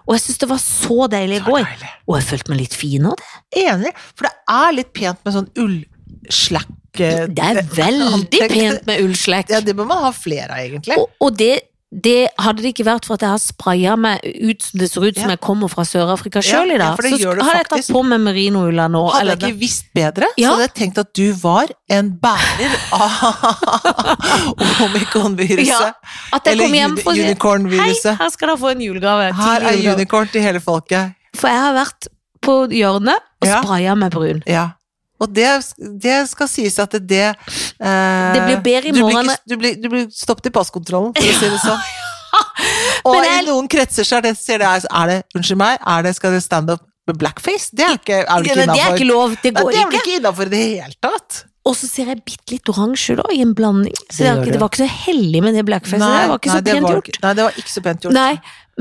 [SPEAKER 2] Og jeg syns det var så deilig i
[SPEAKER 1] Det var
[SPEAKER 2] går.
[SPEAKER 1] deilig.
[SPEAKER 2] Og jeg følte meg litt fin av det.
[SPEAKER 1] Enig, for det er litt pent med sånn ullslakk. eh,
[SPEAKER 2] Det er veldig
[SPEAKER 1] antrekk.
[SPEAKER 2] pent med ullslekk.
[SPEAKER 1] Ja, det bør man ha flere av, egentlig.
[SPEAKER 2] Og, og det, det hadde det ikke vært for at jeg har spraya meg ut som det ser ut som
[SPEAKER 1] Ja.
[SPEAKER 2] jeg kommer fra Sør-Afrika sjøl
[SPEAKER 1] Ja, ja,
[SPEAKER 2] i dag,
[SPEAKER 1] for det
[SPEAKER 2] så
[SPEAKER 1] gjør du
[SPEAKER 2] sk- har jeg tatt
[SPEAKER 1] faktisk.
[SPEAKER 2] på meg merinoulla nå.
[SPEAKER 1] Hadde
[SPEAKER 2] eller
[SPEAKER 1] jeg ikke visst bedre,
[SPEAKER 2] Ja.
[SPEAKER 1] så hadde jeg tenkt at du var en bærer av omikron-viruset.
[SPEAKER 2] Ja, At jeg kom hjem
[SPEAKER 1] uni-
[SPEAKER 2] for å si Hei,
[SPEAKER 1] unicorn-viruset.
[SPEAKER 2] her skal dere få en julegave.
[SPEAKER 1] Her
[SPEAKER 2] Tidlig
[SPEAKER 1] er
[SPEAKER 2] julegave.
[SPEAKER 1] unicorn til hele folket.
[SPEAKER 2] For jeg har vært på hjørnet og
[SPEAKER 1] Ja.
[SPEAKER 2] spraya meg brun.
[SPEAKER 1] Ja. Og det, det skal sies at det eh,
[SPEAKER 2] Det blir bedre i
[SPEAKER 1] du blir,
[SPEAKER 2] morgen.
[SPEAKER 1] ikke, du, blir, du blir stoppet i passkontrollen, for å si det sånn. Og
[SPEAKER 2] Men jeg-
[SPEAKER 1] i noen kretser så er det, ser det, er det Unnskyld meg, er det, skal det stand up med blackface? Det er ikke, er
[SPEAKER 2] Det
[SPEAKER 1] vel ikke
[SPEAKER 2] er
[SPEAKER 1] innafor.
[SPEAKER 2] ikke lov. Det går
[SPEAKER 1] Det er vel
[SPEAKER 2] ikke.
[SPEAKER 1] ikke innafor i det hele tatt?
[SPEAKER 2] Og så ser jeg bitte litt oransje da, i en blanding. Så det,
[SPEAKER 1] gjør
[SPEAKER 2] er ikke,
[SPEAKER 1] du.
[SPEAKER 2] det var ikke så heldig med det blackfacet. Det var ikke
[SPEAKER 1] nei,
[SPEAKER 2] så pent
[SPEAKER 1] var
[SPEAKER 2] gjort.
[SPEAKER 1] ikke- Nei, det var ikke så pent gjort.
[SPEAKER 2] Nei,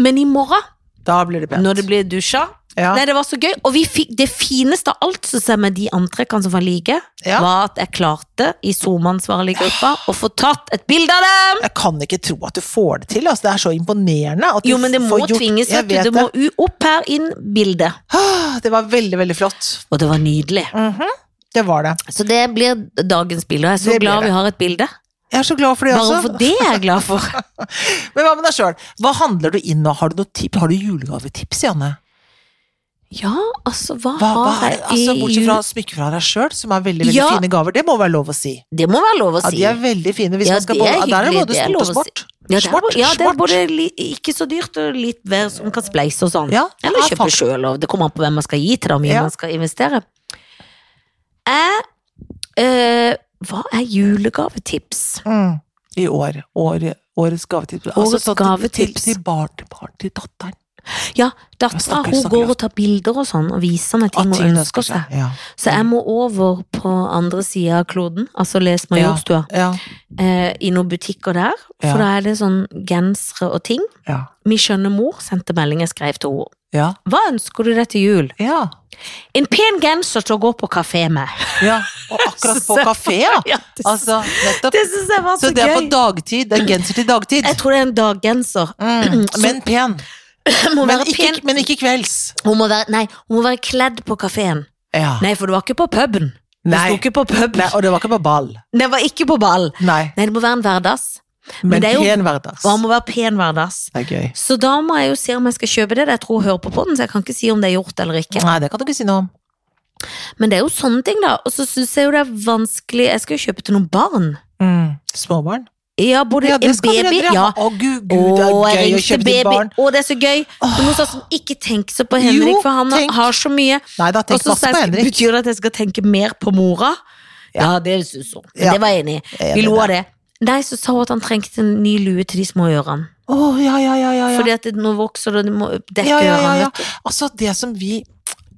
[SPEAKER 2] men i morgen,
[SPEAKER 1] Da blir det pent.
[SPEAKER 2] når det blir dusja
[SPEAKER 1] ja.
[SPEAKER 2] Nei, det var så gøy. Og vi fikk, det fineste av alt, syns jeg, med de antrekkene som var like,
[SPEAKER 1] Ja.
[SPEAKER 2] var at jeg klarte, i SoMe-ansvarlig gruppa, å få tatt et bilde av dem!
[SPEAKER 1] Jeg kan ikke tro at du får det til. Altså, det er så imponerende. At du
[SPEAKER 2] Jo, men det må
[SPEAKER 1] får gjort-
[SPEAKER 2] tvinges.
[SPEAKER 1] Jeg
[SPEAKER 2] vet du.
[SPEAKER 1] vet Ah,
[SPEAKER 2] Det må u- opp her, inn, bilde.
[SPEAKER 1] det. det var veldig, veldig flott.
[SPEAKER 2] Og det var nydelig.
[SPEAKER 1] Mhm. Det var det.
[SPEAKER 2] Så det blir dagens bilde. Og jeg er
[SPEAKER 1] Det
[SPEAKER 2] så
[SPEAKER 1] blir
[SPEAKER 2] glad
[SPEAKER 1] det.
[SPEAKER 2] vi har et bilde.
[SPEAKER 1] Jeg er så glad for det,
[SPEAKER 2] Bare
[SPEAKER 1] altså.
[SPEAKER 2] for det er jeg glad for.
[SPEAKER 1] Men hva med deg sjøl? Hva handler du inn nå? Har du noe tips? Har du julegavetips, Janne?
[SPEAKER 2] Ja, altså,
[SPEAKER 1] Hva,
[SPEAKER 2] hva,
[SPEAKER 1] hva er
[SPEAKER 2] har jeg
[SPEAKER 1] det? Altså,
[SPEAKER 2] i
[SPEAKER 1] bortsett
[SPEAKER 2] jul?
[SPEAKER 1] fra smykker fra deg sjøl, som er veldig veldig
[SPEAKER 2] Ja.
[SPEAKER 1] fine gaver. Det må være lov å si.
[SPEAKER 2] Det må være lov å
[SPEAKER 1] Ja,
[SPEAKER 2] si.
[SPEAKER 1] de er veldig fine. Hvis
[SPEAKER 2] Ja,
[SPEAKER 1] man skal
[SPEAKER 2] det er
[SPEAKER 1] både- der er det
[SPEAKER 2] hyggelig,
[SPEAKER 1] både
[SPEAKER 2] det er
[SPEAKER 1] stort og
[SPEAKER 2] lov å
[SPEAKER 1] smått.
[SPEAKER 2] Ja, det er,
[SPEAKER 1] Smart,
[SPEAKER 2] bo- ja, det er
[SPEAKER 1] smart.
[SPEAKER 2] både li, ikke så dyrt og litt hver som kan spleise og sånn.
[SPEAKER 1] Ja, det
[SPEAKER 2] Eller
[SPEAKER 1] er
[SPEAKER 2] kjøpe
[SPEAKER 1] faktisk-
[SPEAKER 2] sjøl, og det kommer an på hvem man skal gi til, da, om
[SPEAKER 1] Ja.
[SPEAKER 2] man skal investere. Jeg eh, Hva er julegavetips?
[SPEAKER 1] Mm. I år. år årets gavetips.
[SPEAKER 2] Årets
[SPEAKER 1] sånn til-
[SPEAKER 2] gavetips.
[SPEAKER 1] Til, til barn, til barn, til datteren. Ja,
[SPEAKER 2] Ja, dattera
[SPEAKER 1] stakkars,
[SPEAKER 2] hun
[SPEAKER 1] stakkars.
[SPEAKER 2] går og tar bilder og sånn, og viser meg ting
[SPEAKER 1] At
[SPEAKER 2] hun
[SPEAKER 1] hun Mm.
[SPEAKER 2] ønsker seg.
[SPEAKER 1] Ja.
[SPEAKER 2] Så jeg må over på andre sida av kloden, altså les Majorstua,
[SPEAKER 1] Ja.
[SPEAKER 2] eh, i noen butikker der.
[SPEAKER 1] Ja.
[SPEAKER 2] For da er det sånn gensere og ting.
[SPEAKER 1] Ja.
[SPEAKER 2] Min skjønne mor sendte melding jeg skrev til henne.
[SPEAKER 1] Ja.
[SPEAKER 2] Hva ønsker du deg til jul?
[SPEAKER 1] ja.
[SPEAKER 2] En pen genser til å gå på kafé med.
[SPEAKER 1] ja. Og akkurat på
[SPEAKER 2] Så-
[SPEAKER 1] kafé, ja.
[SPEAKER 2] Ja, det,
[SPEAKER 1] Altså, nettopp.
[SPEAKER 2] det syns jeg var så,
[SPEAKER 1] Så det er på
[SPEAKER 2] gøy.
[SPEAKER 1] dagtid. Det er genser til dagtid.
[SPEAKER 2] Jeg tror det er en daggenser.
[SPEAKER 1] Mm.
[SPEAKER 2] Så-
[SPEAKER 1] Men pen.
[SPEAKER 2] Hun må
[SPEAKER 1] Men
[SPEAKER 2] være
[SPEAKER 1] ikke,
[SPEAKER 2] pen.
[SPEAKER 1] men ikke kvelds.
[SPEAKER 2] Hun må være, nei, hun må være kledd på kafeen.
[SPEAKER 1] Ja.
[SPEAKER 2] Nei, for du var ikke på puben. Du
[SPEAKER 1] Nei.
[SPEAKER 2] sto ikke på pub.
[SPEAKER 1] Nei, og det var ikke på ball.
[SPEAKER 2] Det var ikke på ball.
[SPEAKER 1] Nei.
[SPEAKER 2] Nei, det må være en hverdags. Men
[SPEAKER 1] Men
[SPEAKER 2] det er jo-
[SPEAKER 1] pen hverdags.
[SPEAKER 2] Og han må være pen hverdags.
[SPEAKER 1] Det er gøy.
[SPEAKER 2] Så da må jeg jo se om jeg skal kjøpe det. Jeg tror hun hører på podden, så jeg kan ikke si om det er gjort eller ikke.
[SPEAKER 1] Nei, det kan du ikke si noe om.
[SPEAKER 2] Men det er jo sånne ting, da. Og så syns jeg jo det er vanskelig Jeg skal jo kjøpe til noen barn.
[SPEAKER 1] Småbarn.
[SPEAKER 2] Ja, både
[SPEAKER 1] Ja, det
[SPEAKER 2] Mm. en
[SPEAKER 1] skal dere
[SPEAKER 2] baby
[SPEAKER 1] dere
[SPEAKER 2] ja.
[SPEAKER 1] ha. Å, gud,
[SPEAKER 2] Å,
[SPEAKER 1] gud, det er
[SPEAKER 2] jeg
[SPEAKER 1] gøy å
[SPEAKER 2] ringte
[SPEAKER 1] kjøpe til
[SPEAKER 2] baby.
[SPEAKER 1] barn.
[SPEAKER 2] Å, det er så gøy. Du må sånn som ikke tenke så på Henrik,
[SPEAKER 1] Jo,
[SPEAKER 2] for han
[SPEAKER 1] tenk.
[SPEAKER 2] har så mye.
[SPEAKER 1] Nei da,
[SPEAKER 2] Og
[SPEAKER 1] tenk
[SPEAKER 2] så sa
[SPEAKER 1] masse på
[SPEAKER 2] jeg,
[SPEAKER 1] Henrik.
[SPEAKER 2] betyr det at jeg skal tenke mer på mora? Ja, det syns hun. Men
[SPEAKER 1] Ja.
[SPEAKER 2] Det var jeg enig i.
[SPEAKER 1] Jeg er
[SPEAKER 2] Vi
[SPEAKER 1] enig
[SPEAKER 2] lo
[SPEAKER 1] der.
[SPEAKER 2] av det. Nei, så sa hun at han trengte en ny lue til de små ørene.
[SPEAKER 1] Å, ja, ja, ja, ja. ja.
[SPEAKER 2] Fordi at det, nå vokser det, og du må dekke
[SPEAKER 1] Ja, ja, ja, ja.
[SPEAKER 2] ørene. vet du.
[SPEAKER 1] Altså, det som vi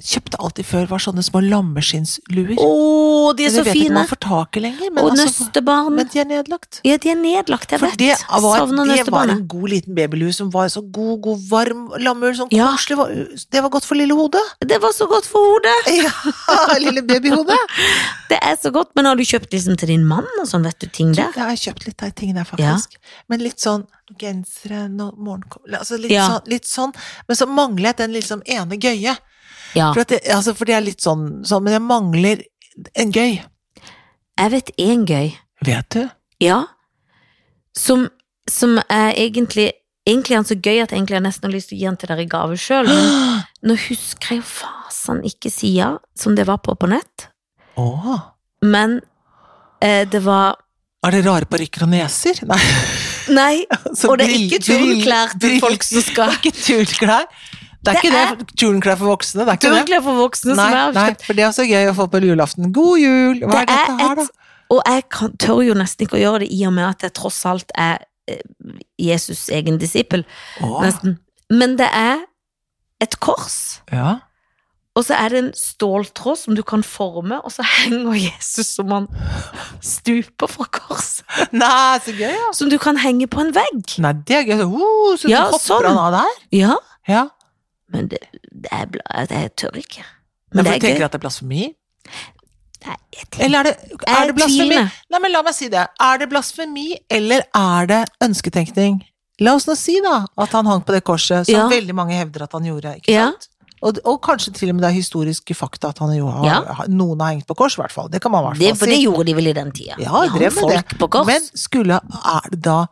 [SPEAKER 1] kjøpte alltid før, var sånne små lammeskinnluer.
[SPEAKER 2] Å, de er
[SPEAKER 1] Men jeg
[SPEAKER 2] så
[SPEAKER 1] vet ikke om
[SPEAKER 2] fine!
[SPEAKER 1] man får tak i lenger, men,
[SPEAKER 2] Og
[SPEAKER 1] altså,
[SPEAKER 2] nøstebarn.
[SPEAKER 1] men de er nedlagt.
[SPEAKER 2] Ja, de er nedlagt, jeg
[SPEAKER 1] For
[SPEAKER 2] vet.
[SPEAKER 1] det var,
[SPEAKER 2] Savner
[SPEAKER 1] det var
[SPEAKER 2] nøstebarnet.
[SPEAKER 1] en god liten babylue som var så god, god, varm lammeøl. Sånn
[SPEAKER 2] Ja.
[SPEAKER 1] koselig. var- Det var godt for lille hodet.
[SPEAKER 2] Det var så godt for hodet!
[SPEAKER 1] Ja, lille babyhode.
[SPEAKER 2] Det er så godt. Men har du kjøpt liksom til din mann og sånn, vet du, ting der?
[SPEAKER 1] Jeg har kjøpt litt av de tingene der, faktisk. Men litt sånn gensere når morgenen kommer altså litt,
[SPEAKER 2] Ja.
[SPEAKER 1] sånn, litt sånn. Men så mangler jeg den liksom ene gøye.
[SPEAKER 2] Ja.
[SPEAKER 1] For, at det, altså, for det er litt sånn, sånn, men jeg mangler en gøy.
[SPEAKER 2] Jeg vet én gøy.
[SPEAKER 1] Vet du?
[SPEAKER 2] Ja. Som, som er egentlig Egentlig er han så gøy at egentlig jeg nesten har lyst til å gi han til dere i gave sjøl. Men
[SPEAKER 1] Åh,
[SPEAKER 2] nå husker jeg jo fasen ikke sida som det var på på nett. Men eh, det var
[SPEAKER 1] er det rare parykker og neser? Nei. altså,
[SPEAKER 2] Nei,
[SPEAKER 1] så
[SPEAKER 2] og det er
[SPEAKER 1] brill-
[SPEAKER 2] ikke
[SPEAKER 1] brill-
[SPEAKER 2] turneklær til
[SPEAKER 1] brill-
[SPEAKER 2] folk som skal
[SPEAKER 1] Det er ikke turklær. Det er
[SPEAKER 2] Det
[SPEAKER 1] ikke det. Turklær for voksne, det er ikke det.
[SPEAKER 2] Turneklær for voksne
[SPEAKER 1] Nei,
[SPEAKER 2] som er
[SPEAKER 1] nei, for det er også gøy å få på julaften. God jul! Hva er
[SPEAKER 2] Det er
[SPEAKER 1] dette her, da?
[SPEAKER 2] et- Og jeg kan, tør jo nesten ikke å gjøre det, i og med at jeg tross alt er eh, Jesus' egen disippel.
[SPEAKER 1] Åh,
[SPEAKER 2] Nesten. Men det er et kors,
[SPEAKER 1] ja.
[SPEAKER 2] og så er det en ståltråd som du kan forme, og så henger Jesus som han stuper fra korset.
[SPEAKER 1] Nei, så gøy, ja.
[SPEAKER 2] Som du kan henge på en vegg.
[SPEAKER 1] Nei, det er gøy. Så, uh, så
[SPEAKER 2] altså. Ja,
[SPEAKER 1] hopper
[SPEAKER 2] sånn.
[SPEAKER 1] han av der.
[SPEAKER 2] Ja,
[SPEAKER 1] Ja.
[SPEAKER 2] men det, det er bla, det, jeg tør ikke.
[SPEAKER 1] Men
[SPEAKER 2] Men det
[SPEAKER 1] for
[SPEAKER 2] er
[SPEAKER 1] du tenker
[SPEAKER 2] gøy.
[SPEAKER 1] at det er blasfemi?
[SPEAKER 2] Nei, jeg tenker-
[SPEAKER 1] Eller er det, er
[SPEAKER 2] Jeg
[SPEAKER 1] det blasfemi?
[SPEAKER 2] tviler.
[SPEAKER 1] Nei, men la meg si det. Er det blasfemi, eller er det ønsketenkning? La oss nå si, da, at han hang på det korset, som
[SPEAKER 2] Ja.
[SPEAKER 1] veldig mange hevder at han gjorde. ikke
[SPEAKER 2] Ja.
[SPEAKER 1] sant? Og, og kanskje til og med det er historiske fakta at han jo har,
[SPEAKER 2] Ja.
[SPEAKER 1] ha- noen har hengt på kors, i hvert fall. Det kan man i hvert
[SPEAKER 2] Det,
[SPEAKER 1] fall
[SPEAKER 2] for det
[SPEAKER 1] si.
[SPEAKER 2] gjorde de vel i den tida.
[SPEAKER 1] Ja, jeg drev med
[SPEAKER 2] folk på kors.
[SPEAKER 1] Men skulle Er det da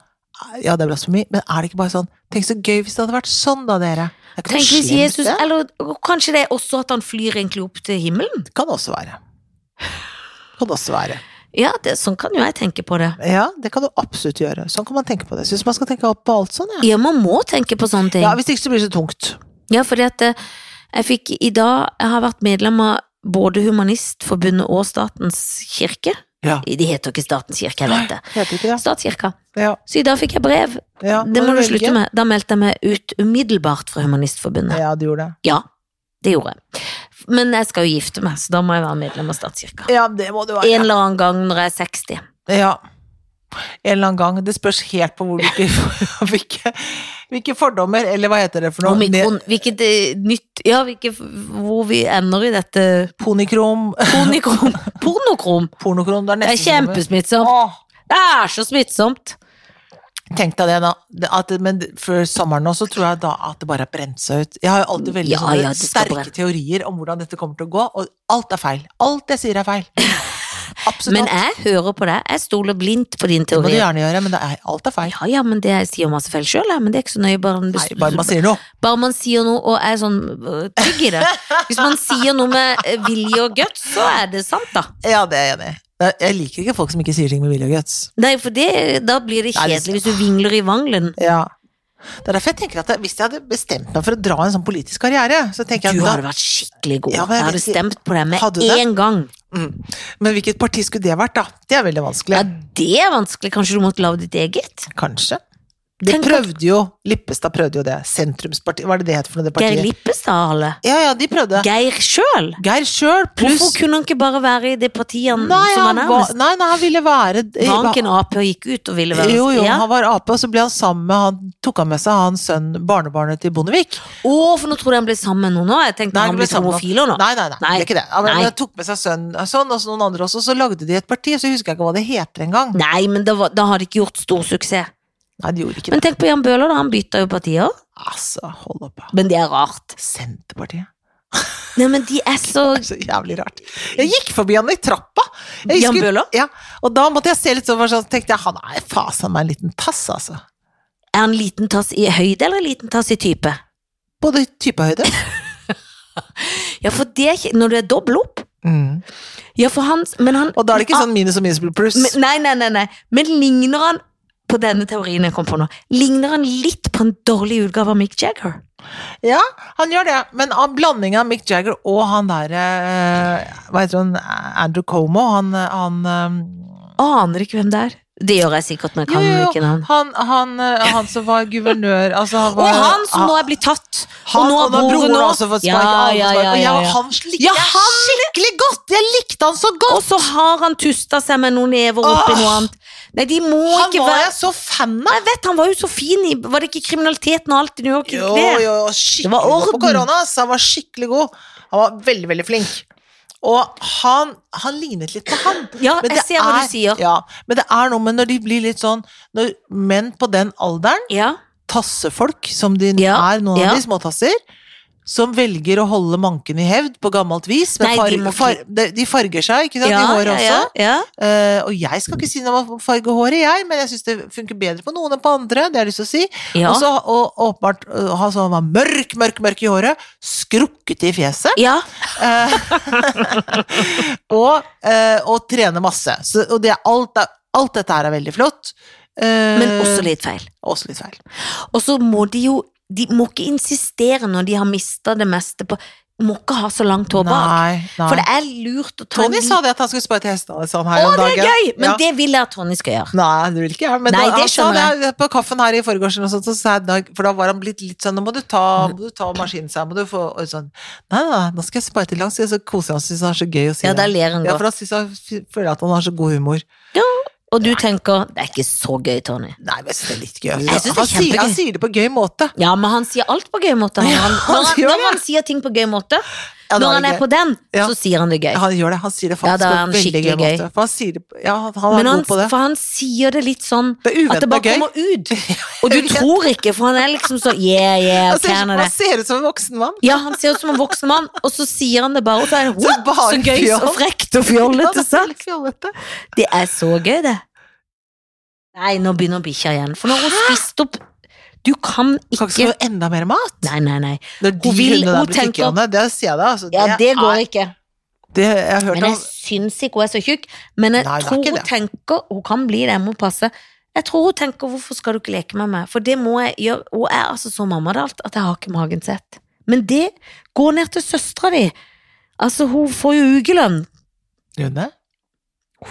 [SPEAKER 1] Ja, det er blasfemi, men er det ikke bare sånn Tenk så gøy hvis det hadde vært sånn, da, dere. Det er ikke noe
[SPEAKER 2] Tenk hvis
[SPEAKER 1] slemt,
[SPEAKER 2] Jesus
[SPEAKER 1] det.
[SPEAKER 2] Eller kanskje det er også at han flyr egentlig opp til himmelen?
[SPEAKER 1] Det kan også være. Kan også være.
[SPEAKER 2] Ja, det, sånn kan jo jeg tenke på det.
[SPEAKER 1] Ja, det kan du absolutt gjøre. Sånn kan man tenke på det. Syns man skal tenke opp på alt sånn, ja.
[SPEAKER 2] Ja, man må tenke på sånne ting.
[SPEAKER 1] Ja,
[SPEAKER 2] Ja,
[SPEAKER 1] hvis ikke så blir det så tungt.
[SPEAKER 2] fordi at eh, jeg fikk i dag Jeg har vært medlem av både Humanistforbundet og Statens kirke.
[SPEAKER 1] Ja.
[SPEAKER 2] De heter jo ikke Statens kirke, jeg vet det.
[SPEAKER 1] Heter ikke det?
[SPEAKER 2] Statskirka.
[SPEAKER 1] Ja.
[SPEAKER 2] Så i dag fikk jeg brev.
[SPEAKER 1] ja.
[SPEAKER 2] Det må du slutte med. Da meldte jeg meg ut umiddelbart fra Humanistforbundet.
[SPEAKER 1] Ja, du gjorde det.
[SPEAKER 2] Ja, det gjorde jeg. Men jeg skal jo gifte meg, så da må jeg være medlem av Statskirka.
[SPEAKER 1] Ja, det må du være.
[SPEAKER 2] En eller annen gang når jeg er 60.
[SPEAKER 1] Ja. En eller annen gang. Det spørs helt på hvor hvilke, hvilke, hvilke fordommer, eller hva heter det for noe?
[SPEAKER 2] Omikron, hvilket eh, nytt Ja, hvilket, hvor vi ender i dette
[SPEAKER 1] Ponikrom.
[SPEAKER 2] Pornikrom. Pornokrom.
[SPEAKER 1] Pornokrom, det er
[SPEAKER 2] Det er
[SPEAKER 1] nesten
[SPEAKER 2] kjempesmittsomt.
[SPEAKER 1] Åh,
[SPEAKER 2] Det er så smittsomt.
[SPEAKER 1] tenk deg det, da. Det- At, men før sommeren nå, så tror jeg da at det bare har brent seg ut. Jeg har jo alltid veldig
[SPEAKER 2] Ja,
[SPEAKER 1] sånne
[SPEAKER 2] ja, det skal
[SPEAKER 1] sterke
[SPEAKER 2] brenne.
[SPEAKER 1] teorier om hvordan dette kommer til å gå, og alt er feil. Alt jeg sier er feil. Absolutt.
[SPEAKER 2] Men jeg hører på deg. Jeg stoler blindt på din
[SPEAKER 1] Det må du
[SPEAKER 2] teori.
[SPEAKER 1] gjerne gjøre, men det er, alt er feil.
[SPEAKER 2] Ja, ja, men det jeg sier masse feil sjøl, men det er ikke så nøye. Bare,
[SPEAKER 1] Nei, bare man sier noe.
[SPEAKER 2] bare man sier noe og er sånn øh, trygg i det. Hvis man sier noe med øh, vilje og guts, så er det sant, da.
[SPEAKER 1] Ja, det er jeg enig i. Det- Jeg liker ikke folk som ikke sier ting med vilje og guts.
[SPEAKER 2] Nei, for det, da blir det
[SPEAKER 1] Nei, det-
[SPEAKER 2] kjedelig hvis du vingler i vangelen.
[SPEAKER 1] Ja. Det er derfor jeg tenker at jeg- hvis jeg hadde bestemt meg for å dra en sånn politisk karriere, så tenker
[SPEAKER 2] Du
[SPEAKER 1] jeg
[SPEAKER 2] hadde
[SPEAKER 1] da,
[SPEAKER 2] vært skikkelig god.
[SPEAKER 1] Ja, men jeg
[SPEAKER 2] jeg hadde
[SPEAKER 1] vet ikke-
[SPEAKER 2] stemt på
[SPEAKER 1] Hadde
[SPEAKER 2] deg med
[SPEAKER 1] du det?
[SPEAKER 2] en gang.
[SPEAKER 1] mm. Men hvilket parti skulle det vært, da? Det er veldig
[SPEAKER 2] Ja,
[SPEAKER 1] vanskelig.
[SPEAKER 2] det er vanskelig. Kanskje du måtte lage ditt eget?
[SPEAKER 1] Kanskje. De
[SPEAKER 2] Tenk at-
[SPEAKER 1] prøvde jo, Lippestad prøvde jo det. Sentrumspartiet, hva er det det heter for noe, det
[SPEAKER 2] Geir
[SPEAKER 1] partiet?
[SPEAKER 2] Lippestad-hale.
[SPEAKER 1] Ja, ja, de prøvde.
[SPEAKER 2] Geir sjøl?
[SPEAKER 1] Geir sjøl,
[SPEAKER 2] Hvorfor
[SPEAKER 1] pluss
[SPEAKER 2] kunne han ikke bare være i det partiet han,
[SPEAKER 1] Nei,
[SPEAKER 2] som var
[SPEAKER 1] han var,
[SPEAKER 2] nærmest?
[SPEAKER 1] nei, nei, han ville være
[SPEAKER 2] Var han ikke en Ap og gikk ut og ville være
[SPEAKER 1] Jo, jo,
[SPEAKER 2] ja.
[SPEAKER 1] han var ape, og så ble han sammen med han tok han med seg han sønn, barnebarnet til Bondevik.
[SPEAKER 2] Å, for nå trodde jeg han ble sammen med noen nå. Jeg tenkte
[SPEAKER 1] Nei,
[SPEAKER 2] han
[SPEAKER 1] det ble
[SPEAKER 2] ble
[SPEAKER 1] sammen.
[SPEAKER 2] homofil nå.
[SPEAKER 1] Nei, nei, nei,
[SPEAKER 2] Nei.
[SPEAKER 1] det er ikke det. Han
[SPEAKER 2] Nei.
[SPEAKER 1] han tok med seg sønnen sånn, og så noen andre også, så lagde de et parti, så husker jeg ikke hva det heter engang.
[SPEAKER 2] Nei, men da, var, da har de ikke gjort stor suksess.
[SPEAKER 1] Nei, de gjorde ikke det.
[SPEAKER 2] Men tenk på Jan Bøhler, da. Han bytta jo partier.
[SPEAKER 1] Altså, hold opp. ja.
[SPEAKER 2] Men det er rart.
[SPEAKER 1] Senterpartiet.
[SPEAKER 2] Nei, men de er så
[SPEAKER 1] Det er så jævlig rart. Jeg gikk forbi han i trappa. Jeg
[SPEAKER 2] Jan
[SPEAKER 1] husker-
[SPEAKER 2] Bøhler?
[SPEAKER 1] Ja, og da måtte jeg se litt sånn, for sånn tenkte jeg, han er fasen meg en liten tass, altså.
[SPEAKER 2] Er han liten tass i høyde, eller en liten tass i type?
[SPEAKER 1] Både type og høyde.
[SPEAKER 2] Ja, for det er ikke Når du er dobbel opp
[SPEAKER 1] Mm.
[SPEAKER 2] Ja, for han Men han
[SPEAKER 1] Og da er det ikke
[SPEAKER 2] Ah,
[SPEAKER 1] sånn minus og minus blir pluss.
[SPEAKER 2] men, Nei, nei, nei, nei. Men ligner han på denne teorien jeg kom på nå, ligner han litt på en dårlig utgave av Mick Jagger?
[SPEAKER 1] Ja, han gjør det, men av blandingen av Mick Jagger og han der, eh, hva heter han, Andrew Como, han, han eh,
[SPEAKER 2] Aner ikke hvem det er. Det gjør jeg sikkert, men jeg kan
[SPEAKER 1] Jo, jo, jo.
[SPEAKER 2] ikke navn.
[SPEAKER 1] Han, han, eh, han som var guvernør altså han
[SPEAKER 2] Og
[SPEAKER 1] var,
[SPEAKER 2] han som nå
[SPEAKER 1] han,
[SPEAKER 2] er blitt tatt!
[SPEAKER 1] han, og nå har broren
[SPEAKER 2] nå-
[SPEAKER 1] også fått spark.
[SPEAKER 2] Ja,
[SPEAKER 1] alle
[SPEAKER 2] ja,
[SPEAKER 1] spark.
[SPEAKER 2] ja,
[SPEAKER 1] Og
[SPEAKER 2] ja,
[SPEAKER 1] jeg-
[SPEAKER 2] ja.
[SPEAKER 1] han likte
[SPEAKER 2] Ja,
[SPEAKER 1] jeg skikkelig godt! Jeg likte han så
[SPEAKER 2] Og
[SPEAKER 1] godt!
[SPEAKER 2] så har han tusta seg med noen never oppi
[SPEAKER 1] Åh!
[SPEAKER 2] noe annet. Nei, de må
[SPEAKER 1] Han
[SPEAKER 2] ikke
[SPEAKER 1] var
[SPEAKER 2] være
[SPEAKER 1] jeg så fan av!
[SPEAKER 2] Jeg vet, han var jo så fin i Var det ikke kriminaliteten og alt i New York?
[SPEAKER 1] Jo,
[SPEAKER 2] det?
[SPEAKER 1] jo, jo, skikkelig
[SPEAKER 2] Det var
[SPEAKER 1] god på
[SPEAKER 2] orden.
[SPEAKER 1] korona. ass. han var skikkelig god. Han var veldig, veldig flink. Og han, han lignet litt på han.
[SPEAKER 2] Ja,
[SPEAKER 1] Men
[SPEAKER 2] jeg
[SPEAKER 1] det
[SPEAKER 2] ser hva
[SPEAKER 1] er-
[SPEAKER 2] du sier.
[SPEAKER 1] Ja, men det er noe med når de blir litt sånn Når menn på den alderen,
[SPEAKER 2] Ja.
[SPEAKER 1] tassefolk, som de
[SPEAKER 2] Ja,
[SPEAKER 1] er, noen
[SPEAKER 2] ja.
[SPEAKER 1] av de småtasser, som velger å holde manken i hevd på gammelt vis. Men
[SPEAKER 2] Nei, de
[SPEAKER 1] farg,
[SPEAKER 2] må ikke-
[SPEAKER 1] far, de, de farger seg, ikke sant,
[SPEAKER 2] ja,
[SPEAKER 1] i håret
[SPEAKER 2] ja,
[SPEAKER 1] også.
[SPEAKER 2] ja, ja.
[SPEAKER 1] Eh, og jeg skal ikke si noe om å farge håret, jeg, men jeg syns det funker bedre på noen enn på andre. Det har jeg lyst til å si.
[SPEAKER 2] Ja.
[SPEAKER 1] Og så og, åpenbart eh, han som var mørk, mørk, mørk i håret, skrukkete i fjeset.
[SPEAKER 2] ja.
[SPEAKER 1] Eh, og, eh, og trene masse. Så, og det, er alt, er- alt dette her er veldig flott. Eh,
[SPEAKER 2] Men også litt feil.
[SPEAKER 1] også litt feil.
[SPEAKER 2] Og så må de jo De må ikke insistere når de har mista det meste på Må ikke ha så langt hår bak.
[SPEAKER 1] Nei, nei.
[SPEAKER 2] For det er lurt å ta
[SPEAKER 1] Tony
[SPEAKER 2] en
[SPEAKER 1] sa det at han skulle spare til hestene sånn her
[SPEAKER 2] Å,
[SPEAKER 1] om
[SPEAKER 2] det
[SPEAKER 1] dagen.
[SPEAKER 2] er gøy! Men
[SPEAKER 1] Ja.
[SPEAKER 2] det vil jeg at Tony skal gjøre.
[SPEAKER 1] Nei, det vil ikke jeg. Men
[SPEAKER 2] Nei,
[SPEAKER 1] da,
[SPEAKER 2] det
[SPEAKER 1] han sa
[SPEAKER 2] skjønner
[SPEAKER 1] det på kaffen her i forgårs, eller noe sånt, så sa jeg Dag, for da var han blitt litt sånn Nå må du ta,
[SPEAKER 2] Mm.
[SPEAKER 1] må du ta maskinen seg, må du få og sånn Nei, nei, nei, nå skal jeg spare til langs, så koser han syns han er så gøy å si
[SPEAKER 2] Ja, da
[SPEAKER 1] det.
[SPEAKER 2] ler han
[SPEAKER 1] Ja, for da
[SPEAKER 2] sånn godt.
[SPEAKER 1] syns han f- føler jeg at han har så god humor.
[SPEAKER 2] Og du tenker 'det er ikke så gøy', Tony.
[SPEAKER 1] Nei, men jeg syns det er litt gøy.
[SPEAKER 2] Jeg synes det er
[SPEAKER 1] han, sier, han
[SPEAKER 2] kjempegøy.
[SPEAKER 1] sier det på gøy måte.
[SPEAKER 2] Ja, men han sier alt på gøy måte. Han, han,
[SPEAKER 1] han
[SPEAKER 2] når, han,
[SPEAKER 1] gjør
[SPEAKER 2] når
[SPEAKER 1] det.
[SPEAKER 2] han sier ting på gøy måte,
[SPEAKER 1] Ja, da
[SPEAKER 2] når han
[SPEAKER 1] det
[SPEAKER 2] er
[SPEAKER 1] gøy.
[SPEAKER 2] på den,
[SPEAKER 1] Ja.
[SPEAKER 2] så sier han det gøy.
[SPEAKER 1] Han gjør det. Han sier det
[SPEAKER 2] Ja,
[SPEAKER 1] faktisk
[SPEAKER 2] da
[SPEAKER 1] på
[SPEAKER 2] er han
[SPEAKER 1] en veldig gøy,
[SPEAKER 2] skikkelig gøy.
[SPEAKER 1] måte. For han sier det Ja, han, han er
[SPEAKER 2] Men han,
[SPEAKER 1] god på det.
[SPEAKER 2] for han sier det litt sånn
[SPEAKER 1] Det er
[SPEAKER 2] at det
[SPEAKER 1] uventa
[SPEAKER 2] bare
[SPEAKER 1] gøy.
[SPEAKER 2] kommer ut. Og
[SPEAKER 1] Jeg
[SPEAKER 2] du
[SPEAKER 1] vet. Altså,
[SPEAKER 2] tror ikke, for han er liksom så yeah, yeah,
[SPEAKER 1] Han ser,
[SPEAKER 2] Canada.
[SPEAKER 1] han ser ut som en voksen mann.
[SPEAKER 2] Ja, han ser ut som en voksen mann, og så sier han det bare, og så er det
[SPEAKER 1] Så
[SPEAKER 2] «Wow,
[SPEAKER 1] bare
[SPEAKER 2] så gøy
[SPEAKER 1] fjoll.
[SPEAKER 2] og frekt og
[SPEAKER 1] Ja,
[SPEAKER 2] fjollete.
[SPEAKER 1] det
[SPEAKER 2] sant?
[SPEAKER 1] er litt fjollete.
[SPEAKER 2] Det er så gøy, det. Nei, nå begynner bikkja igjen. For når hun spiste opp Du kan
[SPEAKER 1] Kan ikke
[SPEAKER 2] ikke
[SPEAKER 1] få enda mer mat?
[SPEAKER 2] Nei, nei, nei.
[SPEAKER 1] Når de
[SPEAKER 2] Hun vil-
[SPEAKER 1] hundene der
[SPEAKER 2] hun
[SPEAKER 1] blir
[SPEAKER 2] tenker-
[SPEAKER 1] tykke, Janne, det sier jeg deg. Altså,
[SPEAKER 2] Ja, det går
[SPEAKER 1] er-
[SPEAKER 2] ikke.
[SPEAKER 1] Det, jeg har hørt
[SPEAKER 2] Men
[SPEAKER 1] om
[SPEAKER 2] jeg syns ikke hun er så tjukk. Men jeg
[SPEAKER 1] Nei, det er
[SPEAKER 2] tror
[SPEAKER 1] ikke
[SPEAKER 2] hun
[SPEAKER 1] det.
[SPEAKER 2] tenker Hun kan bli det, jeg må passe. Jeg tror hun tenker 'hvorfor skal du ikke leke med meg', for det må jeg gjøre. Hun er altså så mammadalt at jeg har ikke magen sett. Men det går ned til søstera di. Altså, hun får jo ukelønn.
[SPEAKER 1] Rune?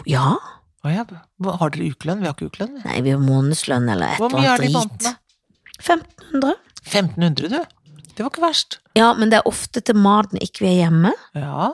[SPEAKER 2] Ja.
[SPEAKER 1] Å ja. hva- Har dere ukelønn? Vi har ikke ukelønn. vi.
[SPEAKER 2] Nei, vi har månedslønn eller et
[SPEAKER 1] Hvor
[SPEAKER 2] eller
[SPEAKER 1] mye er
[SPEAKER 2] annet
[SPEAKER 1] det i
[SPEAKER 2] drit.
[SPEAKER 1] måneden?
[SPEAKER 2] 1500.
[SPEAKER 1] 1500, du. Det var ikke verst.
[SPEAKER 2] Ja, men det er ofte til maten ikke vi er hjemme.
[SPEAKER 1] Ja.